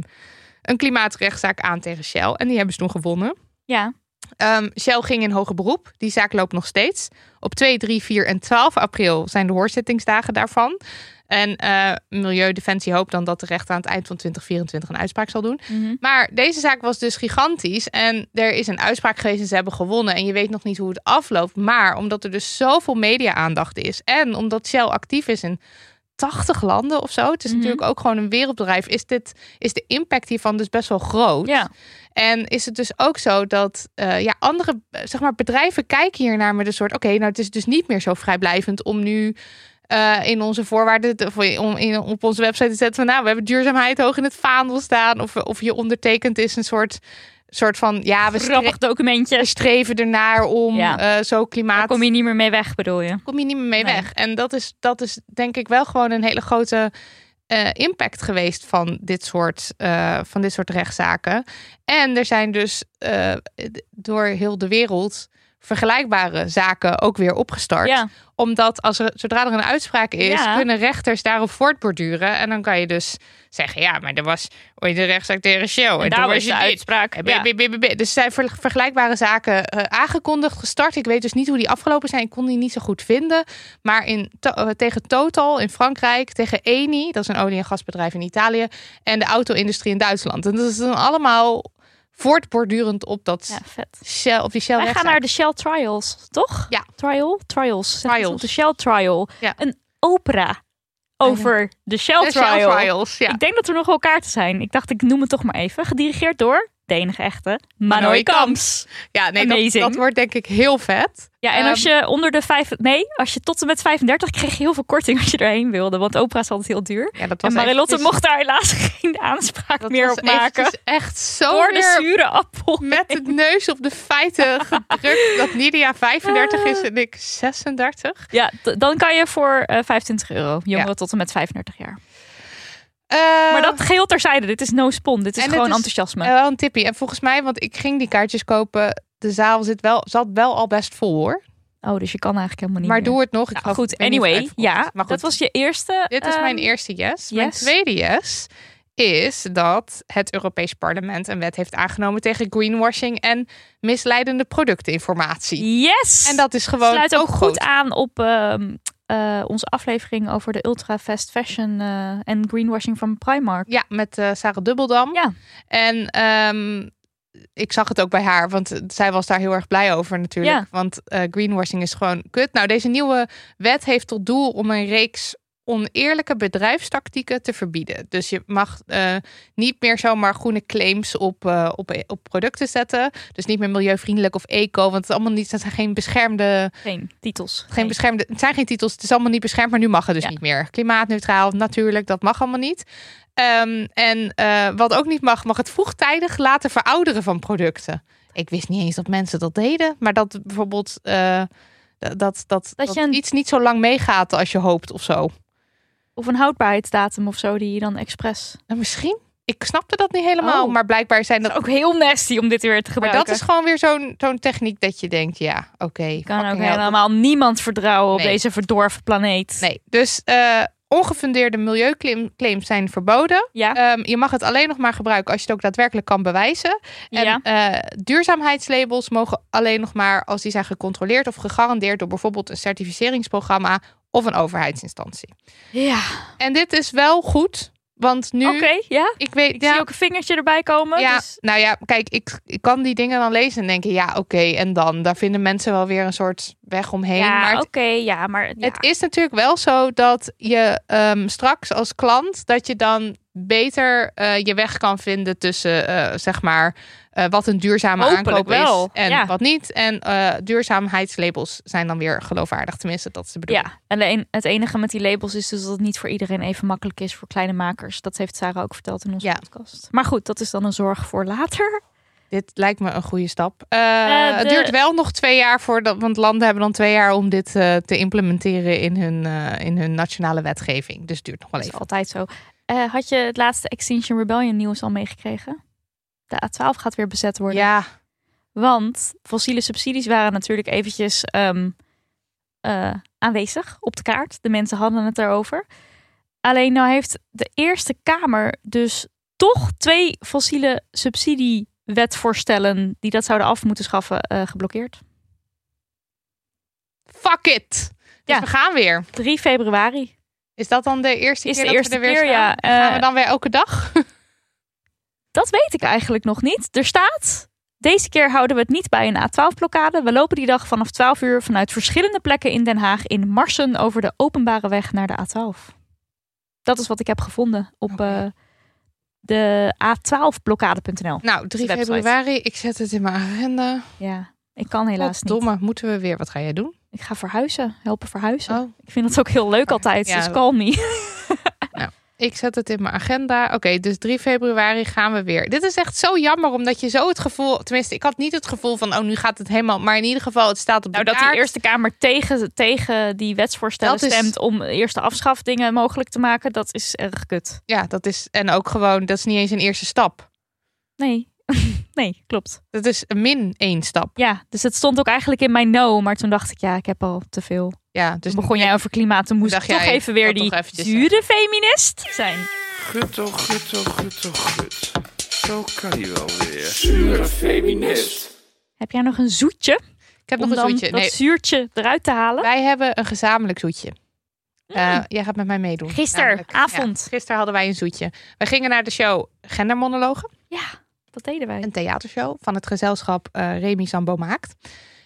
[SPEAKER 2] een klimaatrechtszaak aan tegen Shell. En die hebben ze toen gewonnen.
[SPEAKER 3] Ja,
[SPEAKER 2] Ehm, Shell ging in hoger beroep. Die zaak loopt nog steeds. Op 2, 3, 4 en 12 april zijn de hoorzittingsdagen daarvan. En eh, Milieudefensie hoopt dan dat de rechter aan het eind van 2024 een uitspraak zal doen. Maar deze zaak was dus gigantisch. En er is een uitspraak geweest en ze hebben gewonnen. En je weet nog niet hoe het afloopt. Maar omdat er dus zoveel media-aandacht is. En omdat Shell actief is in 80 landen of zo. Het is natuurlijk ook gewoon een wereldbedrijf. Is, dit, is de impact hiervan dus best wel groot.
[SPEAKER 3] ja.
[SPEAKER 2] En is het dus ook zo dat eh, ja, andere eh, zeg maar, bedrijven kijken hiernaar met een soort... oké, nou het is dus niet meer zo vrijblijvend om nu eh, in onze voorwaarden... te- of om in, op onze website te zetten van... nou, we hebben duurzaamheid hoog in het vaandel staan. Of, of je ondertekent is een soort, soort van... ja, we stre-
[SPEAKER 3] Grappig documentje.
[SPEAKER 2] we streven ernaar om
[SPEAKER 3] Ja.
[SPEAKER 2] eh, zo
[SPEAKER 3] Daar
[SPEAKER 2] klimaat...
[SPEAKER 3] kom je niet meer mee weg, bedoel je?
[SPEAKER 2] kom je niet meer mee
[SPEAKER 3] Nee.
[SPEAKER 2] weg. En dat is, dat is denk ik wel gewoon een hele grote eh, impact geweest van dit, soort, eh, van dit soort rechtszaken. En er zijn dus eh, d- door heel de wereld vergelijkbare zaken ook weer opgestart.
[SPEAKER 3] Ja.
[SPEAKER 2] Omdat als er, zodra er een uitspraak is,
[SPEAKER 3] Ja.
[SPEAKER 2] kunnen rechters daarop voortborduren. En dan kan je dus zeggen, ja, maar er was ooit een rechtszaak tegen Shell. En,
[SPEAKER 3] daar
[SPEAKER 2] toen
[SPEAKER 3] was
[SPEAKER 2] was
[SPEAKER 3] de
[SPEAKER 2] je dit.
[SPEAKER 3] uitspraak.
[SPEAKER 2] En
[SPEAKER 3] Ja.
[SPEAKER 2] bi- bi- bi- bi- Dus er zijn ver- vergelijkbare zaken eh, aangekondigd, gestart. Ik weet dus niet hoe die afgelopen zijn. Ik kon die niet zo goed vinden. Maar in, to- eh, tegen Total in Frankrijk, tegen Eni, dat is een olie- en gasbedrijf in Italië, en de auto-industrie in Duitsland. En dat is dan allemaal voortbordurend op dat
[SPEAKER 3] Ja, vet.
[SPEAKER 2] Shell, op die Shell
[SPEAKER 3] Wij gaan naar de Shell Trials, toch?
[SPEAKER 2] Ja.
[SPEAKER 3] Trial? Trials. Zeg
[SPEAKER 2] Trials.
[SPEAKER 3] het op De Shell Trial.
[SPEAKER 2] Ja.
[SPEAKER 3] Een opera over de Shell
[SPEAKER 2] de Shell
[SPEAKER 3] Trial.
[SPEAKER 2] Trials. Ja.
[SPEAKER 3] Ik denk dat er nog wel kaarten zijn. Ik dacht, ik noem het toch maar even. Gedirigeerd door de enige echte,
[SPEAKER 2] Manoy
[SPEAKER 3] Manoy Kamps.
[SPEAKER 2] Ja, nee, dat,
[SPEAKER 3] Amazing.
[SPEAKER 2] dat wordt denk ik heel vet.
[SPEAKER 3] Ja, en
[SPEAKER 2] Ehm,
[SPEAKER 3] als je onder de vijf... Nee, als je tot en met 35 kreeg je heel veel korting als je erheen wilde. Want opera is altijd heel duur.
[SPEAKER 2] Ja, dat was
[SPEAKER 3] En Marilotte
[SPEAKER 2] eventjes-
[SPEAKER 3] mocht daar helaas geen aanspraak
[SPEAKER 2] dat
[SPEAKER 3] meer
[SPEAKER 2] was
[SPEAKER 3] op maken.
[SPEAKER 2] eventjes echt zo
[SPEAKER 3] Door de
[SPEAKER 2] weer
[SPEAKER 3] zure appel.
[SPEAKER 2] met het neus op de feiten gedrukt dat Nidia 35
[SPEAKER 3] Ah.
[SPEAKER 2] is en ik 36.
[SPEAKER 3] Ja, d- dan kan je voor eh 25 euro jongeren
[SPEAKER 2] Ja.
[SPEAKER 3] tot en met 35 jaar.
[SPEAKER 2] Eh,
[SPEAKER 3] Maar dat geheel terzijde. Dit is no spon. Dit is
[SPEAKER 2] en het
[SPEAKER 3] gewoon
[SPEAKER 2] is,
[SPEAKER 3] enthousiasme.
[SPEAKER 2] eh, wel een tippie. En volgens mij, want ik ging die kaartjes kopen, de zaal zit wel, zat wel al best vol hoor.
[SPEAKER 3] oh, dus je kan eigenlijk helemaal niet
[SPEAKER 2] eh, Maar
[SPEAKER 3] meer.
[SPEAKER 2] doe het nog. Ik
[SPEAKER 3] Nou,
[SPEAKER 2] geloof-
[SPEAKER 3] goed,
[SPEAKER 2] ik weet niet of het
[SPEAKER 3] anyway.
[SPEAKER 2] uitverkocht
[SPEAKER 3] Ja,
[SPEAKER 2] is. Maar goed,
[SPEAKER 3] dat was je eerste.
[SPEAKER 2] dit is mijn
[SPEAKER 3] ehm,
[SPEAKER 2] eerste yes. Mijn
[SPEAKER 3] yes.
[SPEAKER 2] tweede yes is dat het Europees Parlement een wet heeft aangenomen tegen greenwashing en misleidende productinformatie.
[SPEAKER 3] Yes!
[SPEAKER 2] En dat is gewoon
[SPEAKER 3] sluit ook, goed
[SPEAKER 2] groot.
[SPEAKER 3] aan op ehm, eh, onze aflevering over de ultra fast fashion eh, en greenwashing van Primark.
[SPEAKER 2] Ja, met eh, Sarah Dubbeldam.
[SPEAKER 3] Ja.
[SPEAKER 2] En ehm, ik zag het ook bij haar, want eh, zij was daar heel erg blij over natuurlijk.
[SPEAKER 3] Ja.
[SPEAKER 2] Want eh, greenwashing is gewoon kut. Nou, deze nieuwe wet heeft tot doel om een reeks oneerlijke bedrijfstactieken te verbieden. Dus je mag eh, niet meer zomaar groene claims op, eh, op, op producten zetten. Dus niet meer milieuvriendelijk of eco, want het is allemaal niet, dat zijn geen beschermde
[SPEAKER 3] Geen titels.
[SPEAKER 2] geen
[SPEAKER 3] Nee.
[SPEAKER 2] beschermde, het zijn geen titels, het is allemaal niet beschermd, maar nu mag het dus
[SPEAKER 3] Ja.
[SPEAKER 2] niet meer. Klimaatneutraal, natuurlijk, dat mag allemaal niet. Ehm, en eh, wat ook niet mag, mag het vroegtijdig laten verouderen van producten. Ik wist niet eens dat mensen dat deden, maar dat bijvoorbeeld eh, dat, dat, dat,
[SPEAKER 3] Dat je een-
[SPEAKER 2] iets niet zo lang meegaat als je hoopt of zo.
[SPEAKER 3] Of een houdbaarheidsdatum of zo die je dan expres.
[SPEAKER 2] Nou, misschien. Ik snapte dat niet helemaal,
[SPEAKER 3] Oh.
[SPEAKER 2] maar blijkbaar zijn dat.
[SPEAKER 3] Dat is ook heel nasty om dit weer te
[SPEAKER 2] Maar
[SPEAKER 3] gebruiken.
[SPEAKER 2] dat is gewoon weer zo'n zo'n techniek dat je denkt, ja, oké.
[SPEAKER 3] Ik kan ook
[SPEAKER 2] fucking hell, dat
[SPEAKER 3] helemaal niemand vertrouwen op
[SPEAKER 2] Nee.
[SPEAKER 3] deze verdorven planeet.
[SPEAKER 2] Nee, dus eh, ongefundeerde milieuclaims zijn verboden.
[SPEAKER 3] Ja.
[SPEAKER 2] Ehm, je mag het alleen nog maar gebruiken als je het ook daadwerkelijk kan bewijzen. En
[SPEAKER 3] Ja.
[SPEAKER 2] eh, duurzaamheidslabels mogen alleen nog maar als die zijn gecontroleerd of gegarandeerd door bijvoorbeeld een certificeringsprogramma of een overheidsinstantie. Eh,
[SPEAKER 3] Ja.
[SPEAKER 2] En dit is wel goed, want nu.
[SPEAKER 3] Oké, ja.
[SPEAKER 2] Ik weet,
[SPEAKER 3] Ik
[SPEAKER 2] ja,
[SPEAKER 3] zie ook een vingertje erbij komen.
[SPEAKER 2] ja,
[SPEAKER 3] dus-
[SPEAKER 2] nou ja, kijk, ik, ik kan die dingen dan lezen en denken, ja, oké, en dan. Daar vinden mensen wel weer een soort weg omheen. maar
[SPEAKER 3] ja
[SPEAKER 2] het
[SPEAKER 3] oké, ja, maar ja.
[SPEAKER 2] het is natuurlijk wel zo dat je ehm, straks als klant dat je dan beter eh, je weg kan vinden tussen eh, zeg maar eh, wat een duurzame
[SPEAKER 3] Hopelijk
[SPEAKER 2] aankoop
[SPEAKER 3] wel,
[SPEAKER 2] is en
[SPEAKER 3] ja.
[SPEAKER 2] wat niet. En eh, duurzaamheidslabels zijn dan weer geloofwaardig. Tenminste, dat is de bedoeling.
[SPEAKER 3] Ja, alleen het enige met die labels is dus dat het niet voor iedereen even makkelijk is voor kleine makers. Dat heeft Sarah ook verteld in onze
[SPEAKER 2] Ja.
[SPEAKER 3] podcast. Maar goed, dat is dan een zorg voor later.
[SPEAKER 2] Dit lijkt me een goede stap. Eh,
[SPEAKER 3] Eh,
[SPEAKER 2] Het
[SPEAKER 3] de-
[SPEAKER 2] duurt wel nog twee jaar voordat, want landen hebben dan twee jaar om dit eh, te implementeren in hun, eh, in hun nationale wetgeving. Dus het duurt nog wel
[SPEAKER 3] Dat is
[SPEAKER 2] even.
[SPEAKER 3] altijd zo. Eh, had je het laatste Extinction Rebellion nieuws al meegekregen? De A12 gaat weer bezet worden.
[SPEAKER 2] Ja,
[SPEAKER 3] Want fossiele subsidies waren natuurlijk eventjes ehm, eh, aanwezig op de kaart. De mensen hadden het daarover. Alleen nou heeft de Eerste Kamer dus toch twee fossiele subsidiewetvoorstellen die dat zouden af moeten schaffen eh, geblokkeerd.
[SPEAKER 2] fuck it. Dus
[SPEAKER 3] Ja.
[SPEAKER 2] we gaan weer.
[SPEAKER 3] 3 februari.
[SPEAKER 2] Is dat dan de eerste
[SPEAKER 3] Is
[SPEAKER 2] keer
[SPEAKER 3] de
[SPEAKER 2] dat
[SPEAKER 3] eerste
[SPEAKER 2] we er weer
[SPEAKER 3] keer,
[SPEAKER 2] staan?
[SPEAKER 3] ja.
[SPEAKER 2] Gaan
[SPEAKER 3] Eh,
[SPEAKER 2] we dan weer elke dag?
[SPEAKER 3] Dat weet ik eigenlijk nog niet. Er staat, deze keer houden we het niet bij een A12-blokkade. We lopen die dag vanaf 12 uur vanuit verschillende plekken in Den Haag in Marsen over de openbare weg naar de A12. Dat is wat ik heb gevonden op
[SPEAKER 2] Oké.
[SPEAKER 3] eh, de A12blokkade.nl.
[SPEAKER 2] Nou, 3
[SPEAKER 3] website.
[SPEAKER 2] februari. Ik zet het in mijn agenda.
[SPEAKER 3] Ja, ik kan helaas
[SPEAKER 2] Wat
[SPEAKER 3] niet.
[SPEAKER 2] domme, moeten we weer. Wat ga jij doen?
[SPEAKER 3] Ik ga verhuizen, helpen verhuizen.
[SPEAKER 2] Oh.
[SPEAKER 3] Ik vind dat ook heel leuk altijd,
[SPEAKER 2] Ja,
[SPEAKER 3] dus
[SPEAKER 2] dat-
[SPEAKER 3] call me.
[SPEAKER 2] Ik zet het in mijn agenda. Oké, dus 3 februari gaan we weer. Dit is echt zo jammer, omdat je zo het gevoel... Tenminste, ik had niet het gevoel van, oh, nu gaat het helemaal... Maar in ieder geval, het staat op de
[SPEAKER 3] Nou, dat de
[SPEAKER 2] kaart.
[SPEAKER 3] Eerste Kamer tegen, tegen die wetsvoorstellen
[SPEAKER 2] Dat is-
[SPEAKER 3] stemt om eerste afschafdingen mogelijk te maken, dat is erg kut.
[SPEAKER 2] Ja, dat is... En ook gewoon, dat is niet eens een eerste stap.
[SPEAKER 3] Nee, nee, klopt.
[SPEAKER 2] Dat is een min één stap.
[SPEAKER 3] Ja, dus het stond ook eigenlijk in mijn no, maar toen dacht ik, ja, ik heb al te veel.
[SPEAKER 2] Ja, dus
[SPEAKER 3] Dus begon jij over klimaat, toen moest
[SPEAKER 2] Dacht
[SPEAKER 3] ik toch
[SPEAKER 2] jij,
[SPEAKER 3] even
[SPEAKER 2] ik
[SPEAKER 3] weer
[SPEAKER 2] kan
[SPEAKER 3] die
[SPEAKER 2] toch eventjes
[SPEAKER 3] zure feminist zijn.
[SPEAKER 4] Gut toch, gut toch, gut toch, gut. oh, Zo kan hij wel weer.
[SPEAKER 6] Zure feminist.
[SPEAKER 3] Heb jij nog een zoetje?
[SPEAKER 2] ik heb nog
[SPEAKER 3] om
[SPEAKER 2] een
[SPEAKER 3] dan
[SPEAKER 2] zoetje.
[SPEAKER 3] dat
[SPEAKER 2] Nee,
[SPEAKER 3] zuurtje eruit te halen?
[SPEAKER 2] wij hebben een gezamenlijk zoetje.
[SPEAKER 3] Mm.
[SPEAKER 2] Eh, jij gaat met mij meedoen. namelijk. Ja,
[SPEAKER 3] Gisteravond.
[SPEAKER 2] gisteren hadden wij een zoetje. We gingen naar de show Gendermonologen.
[SPEAKER 3] Ja, dat deden wij.
[SPEAKER 2] een theatershow van het gezelschap eh Remy Sambo Maakt.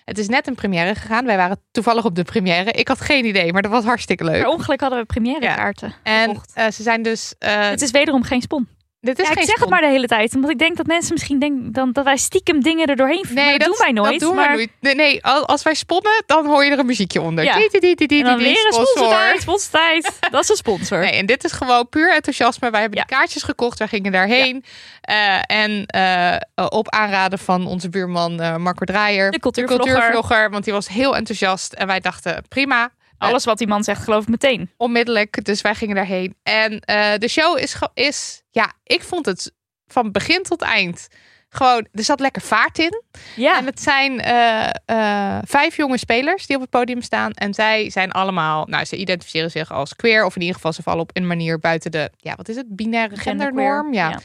[SPEAKER 2] Het is net een première gegaan. Wij waren toevallig op de première. Ik had geen idee, maar dat
[SPEAKER 3] Oh,
[SPEAKER 2] was hartstikke leuk.
[SPEAKER 3] Per ongeluk hadden we première kaarten.
[SPEAKER 2] En
[SPEAKER 3] gekocht.
[SPEAKER 2] eh, ze zijn dus. eh,
[SPEAKER 3] het is wederom geen spon.
[SPEAKER 2] Dit is
[SPEAKER 3] Ja,
[SPEAKER 2] geen
[SPEAKER 3] ik zeg het
[SPEAKER 2] spon.
[SPEAKER 3] maar de hele tijd. Omdat ik denk dat mensen misschien denken dan, dat wij stiekem dingen er doorheen vinden. maar dat, doen wij nooit.
[SPEAKER 2] Dat doen
[SPEAKER 3] maar
[SPEAKER 2] wij nooit. Nee, nee, al- als wij sponnen, dan hoor je er een muziekje onder.
[SPEAKER 3] Ja.
[SPEAKER 2] Die, die, die, die, die,
[SPEAKER 3] En dan
[SPEAKER 2] die, die,
[SPEAKER 3] weer een
[SPEAKER 2] sponsor.
[SPEAKER 3] sponsortijd. Sponsortijd. Dat is een sponsor.
[SPEAKER 2] Nee, en dit is gewoon puur enthousiasme. Wij hebben die kaartjes gekocht, wij gingen daarheen. Eh, en eh, eh, op aanraden van onze buurman eh, Marco Draaier.
[SPEAKER 3] De cultuurvlogger.
[SPEAKER 2] want die was heel enthousiast. En wij dachten, prima,
[SPEAKER 3] Alles wat die man zegt geloof ik meteen.
[SPEAKER 2] onmiddellijk. Dus wij gingen daarheen. En eh, de show is, ge- is, ja, ik vond het van begin tot eind gewoon, er zat lekker vaart in.
[SPEAKER 3] Ja.
[SPEAKER 2] En het zijn eh, eh, vijf jonge spelers die op het podium staan. En zij zijn allemaal, nou, ze identificeren zich als queer. Of in ieder geval, ze vallen op een manier buiten de, ja, wat is het? Binaire gendernorm. Ja.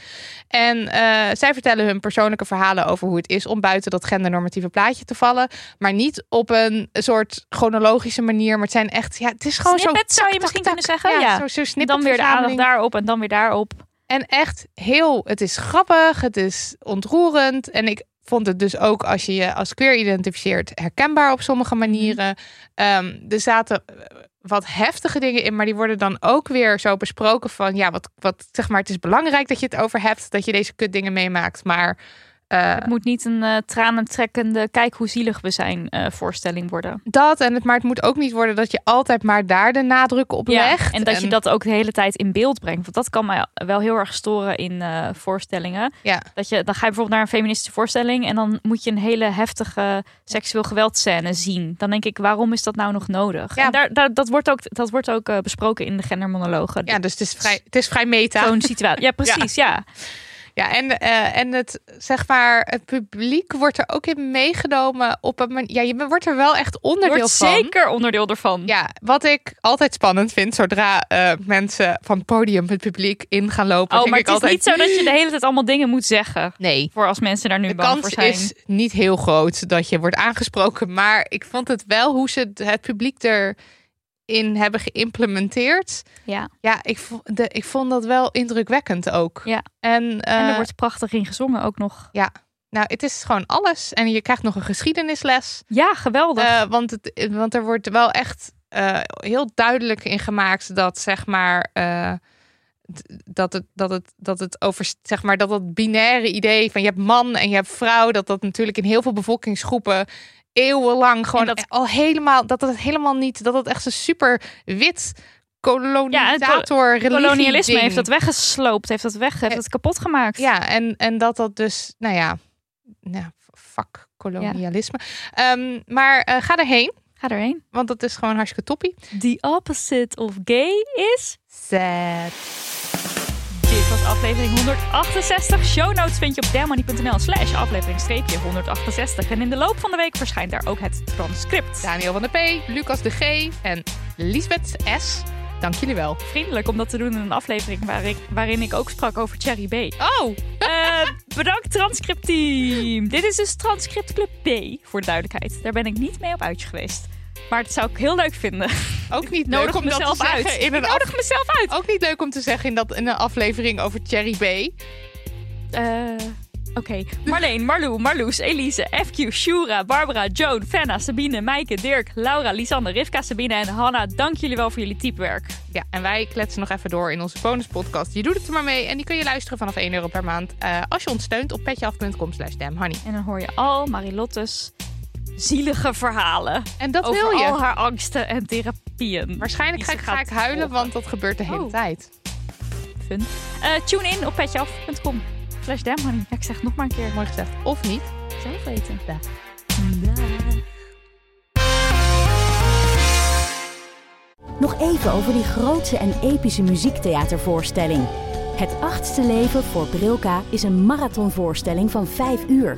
[SPEAKER 2] En eh, zij vertellen hun persoonlijke verhalen over hoe het is om buiten dat gendernormatieve plaatje te vallen. Maar niet op een soort chronologische manier. Maar het zijn echt, ja, het is gewoon
[SPEAKER 3] Snippet
[SPEAKER 2] zo.
[SPEAKER 3] zou je
[SPEAKER 2] tak,
[SPEAKER 3] misschien
[SPEAKER 2] tak,
[SPEAKER 3] kunnen zeggen, ja.
[SPEAKER 2] ja. Zo, zo
[SPEAKER 3] En dan weer de aandacht
[SPEAKER 2] snippetverzameling.
[SPEAKER 3] daarop en dan weer daarop.
[SPEAKER 2] En echt heel, het is grappig, het is ontroerend. En ik vond het dus ook als je je als queer identificeert herkenbaar op sommige
[SPEAKER 3] Mhm.
[SPEAKER 2] manieren. Ehm, er zaten eh, wat heftige dingen in, maar die worden dan ook weer zo besproken van ja, wat, wat zeg maar, het is belangrijk dat je het over hebt, dat je deze kutdingen meemaakt. Maar eh,
[SPEAKER 3] Het moet niet een eh tranentrekkende kijk hoe zielig we zijn eh, voorstelling worden.
[SPEAKER 2] dat en het, maar het moet ook niet worden dat je altijd maar daar de nadruk op legt.
[SPEAKER 3] En dat je dat ook de hele tijd in beeld brengt. Want dat kan mij wel heel erg storen in eh, voorstellingen.
[SPEAKER 2] Ja.
[SPEAKER 3] Dat je, dan ga je bijvoorbeeld naar een feministische voorstelling en dan moet je een hele heftige seksueel geweldscène zien. Dan denk ik, waarom is dat nou nog nodig?
[SPEAKER 2] Ja.
[SPEAKER 3] En daar, daar, dat wordt ook, dat wordt ook eh, besproken in de gendermonologen.
[SPEAKER 2] ja, dus het is vrij, het is vrij meta.
[SPEAKER 3] Zo'n situatie. Ja, precies. Ja.
[SPEAKER 2] Ja, en, eh, en het, zeg maar, het publiek wordt er ook in meegenomen op een manier. Ja, je wordt er wel echt
[SPEAKER 3] Je
[SPEAKER 2] onderdeel
[SPEAKER 3] wordt
[SPEAKER 2] van.
[SPEAKER 3] zeker onderdeel ervan.
[SPEAKER 2] Ja, wat ik altijd spannend vind, zodra eh, mensen van het podium het publiek in gaan lopen.
[SPEAKER 3] Oh,
[SPEAKER 2] denk
[SPEAKER 3] maar
[SPEAKER 2] ik
[SPEAKER 3] het is
[SPEAKER 2] altijd,
[SPEAKER 3] niet zo dat je de hele tijd allemaal dingen moet zeggen.
[SPEAKER 2] Nee.
[SPEAKER 3] Voor als mensen daar nu
[SPEAKER 2] De
[SPEAKER 3] bang
[SPEAKER 2] kans
[SPEAKER 3] voor zijn.
[SPEAKER 2] is niet heel groot dat je wordt aangesproken. Maar ik vond het wel hoe ze het, het publiek erin hebben geïmplementeerd.
[SPEAKER 3] Ja.
[SPEAKER 2] Ja, ik, vo- de, ik vond dat wel indrukwekkend ook.
[SPEAKER 3] Ja.
[SPEAKER 2] En,
[SPEAKER 3] En er
[SPEAKER 2] eh,
[SPEAKER 3] wordt prachtig in gezongen ook nog.
[SPEAKER 2] Nou, het is gewoon alles. En je krijgt nog een geschiedenisles.
[SPEAKER 3] Ja, geweldig.
[SPEAKER 2] Eh, want, het, want er wordt wel echt eh, heel duidelijk in gemaakt dat zeg maar. eh, d- dat het, dat, het, dat het over zeg maar dat dat binaire idee van je hebt man en je hebt vrouw, dat dat natuurlijk in heel veel bevolkingsgroepen eeuwenlang gewoon
[SPEAKER 3] dat-
[SPEAKER 2] al helemaal dat het helemaal niet dat het echt een super wit kolonisator
[SPEAKER 3] Kolonialisme
[SPEAKER 2] religie-ding.
[SPEAKER 3] heeft dat weggesloopt, heeft dat weg, heeft
[SPEAKER 2] Eh,
[SPEAKER 3] dat kapot gemaakt.
[SPEAKER 2] Ja, en, en dat dat dus, nou ja, nou, fuck kolonialisme. Ehm, maar eh, ga erheen,
[SPEAKER 3] Ga erheen.
[SPEAKER 2] want dat is gewoon hartstikke toppie.
[SPEAKER 3] The opposite of gay is.
[SPEAKER 2] Sad.
[SPEAKER 3] Dit was aflevering 168. Show notes vind je op dermoney.nl slash aflevering 168. En in de loop van de week verschijnt daar ook het transcript.
[SPEAKER 2] Daniel van de P, Lucas de G en Lisbeth S. Dank jullie wel.
[SPEAKER 3] Vriendelijk om dat te doen in een aflevering waar ik, waarin ik ook sprak over Cherry B.
[SPEAKER 2] Oh,
[SPEAKER 3] Eh, bedankt transcriptteam. Dit is dus Transcript Club B, voor de duidelijkheid. Daar ben ik niet mee op uitje geweest. Maar het zou ik heel leuk vinden.
[SPEAKER 2] ook niet leuk
[SPEAKER 3] Nodig
[SPEAKER 2] om dat te
[SPEAKER 3] mezelf uit.
[SPEAKER 2] zeggen in
[SPEAKER 3] Ik
[SPEAKER 2] een af-
[SPEAKER 3] nodig mezelf uit.
[SPEAKER 2] ook niet leuk om te zeggen in, dat, in een aflevering over Cherry B.
[SPEAKER 3] Eh, Oké. Marleen, Marlou, Marloes, Elise, FQ, Shura, Barbara, Joan, Fenna, Sabine, Maaike, Dirk, Laura, Lisanne, Rivka, Sabine en Hanna. Dank jullie wel voor jullie typewerk.
[SPEAKER 2] Ja, en wij kletsen nog even door in onze bonuspodcast. Je doet het er maar mee en die kun je luisteren vanaf 1 euro per maand. eh, als je ons steunt op petjeaf.com slash damhoney.
[SPEAKER 3] En dan hoor je al Marilottes zielige verhalen.
[SPEAKER 2] En dat
[SPEAKER 3] over
[SPEAKER 2] wil je.
[SPEAKER 3] al haar angsten en therapieën.
[SPEAKER 2] Waarschijnlijk
[SPEAKER 3] die
[SPEAKER 2] ga
[SPEAKER 3] ze
[SPEAKER 2] ik, ga
[SPEAKER 3] gaat
[SPEAKER 2] ik huilen,
[SPEAKER 3] volgen.
[SPEAKER 2] want dat gebeurt de hele
[SPEAKER 3] Oh.
[SPEAKER 2] tijd.
[SPEAKER 3] Fun. Eh, tune in op petjeaf.com. Slash damhoney. Ja, ik zeg het nog maar een keer.
[SPEAKER 2] Mooi gezegd. Of niet.
[SPEAKER 3] Zelf weten.
[SPEAKER 1] Nog even over die grootse en epische muziektheatervoorstelling. Het achtste leven voor Brilka is een marathonvoorstelling van 5 uur.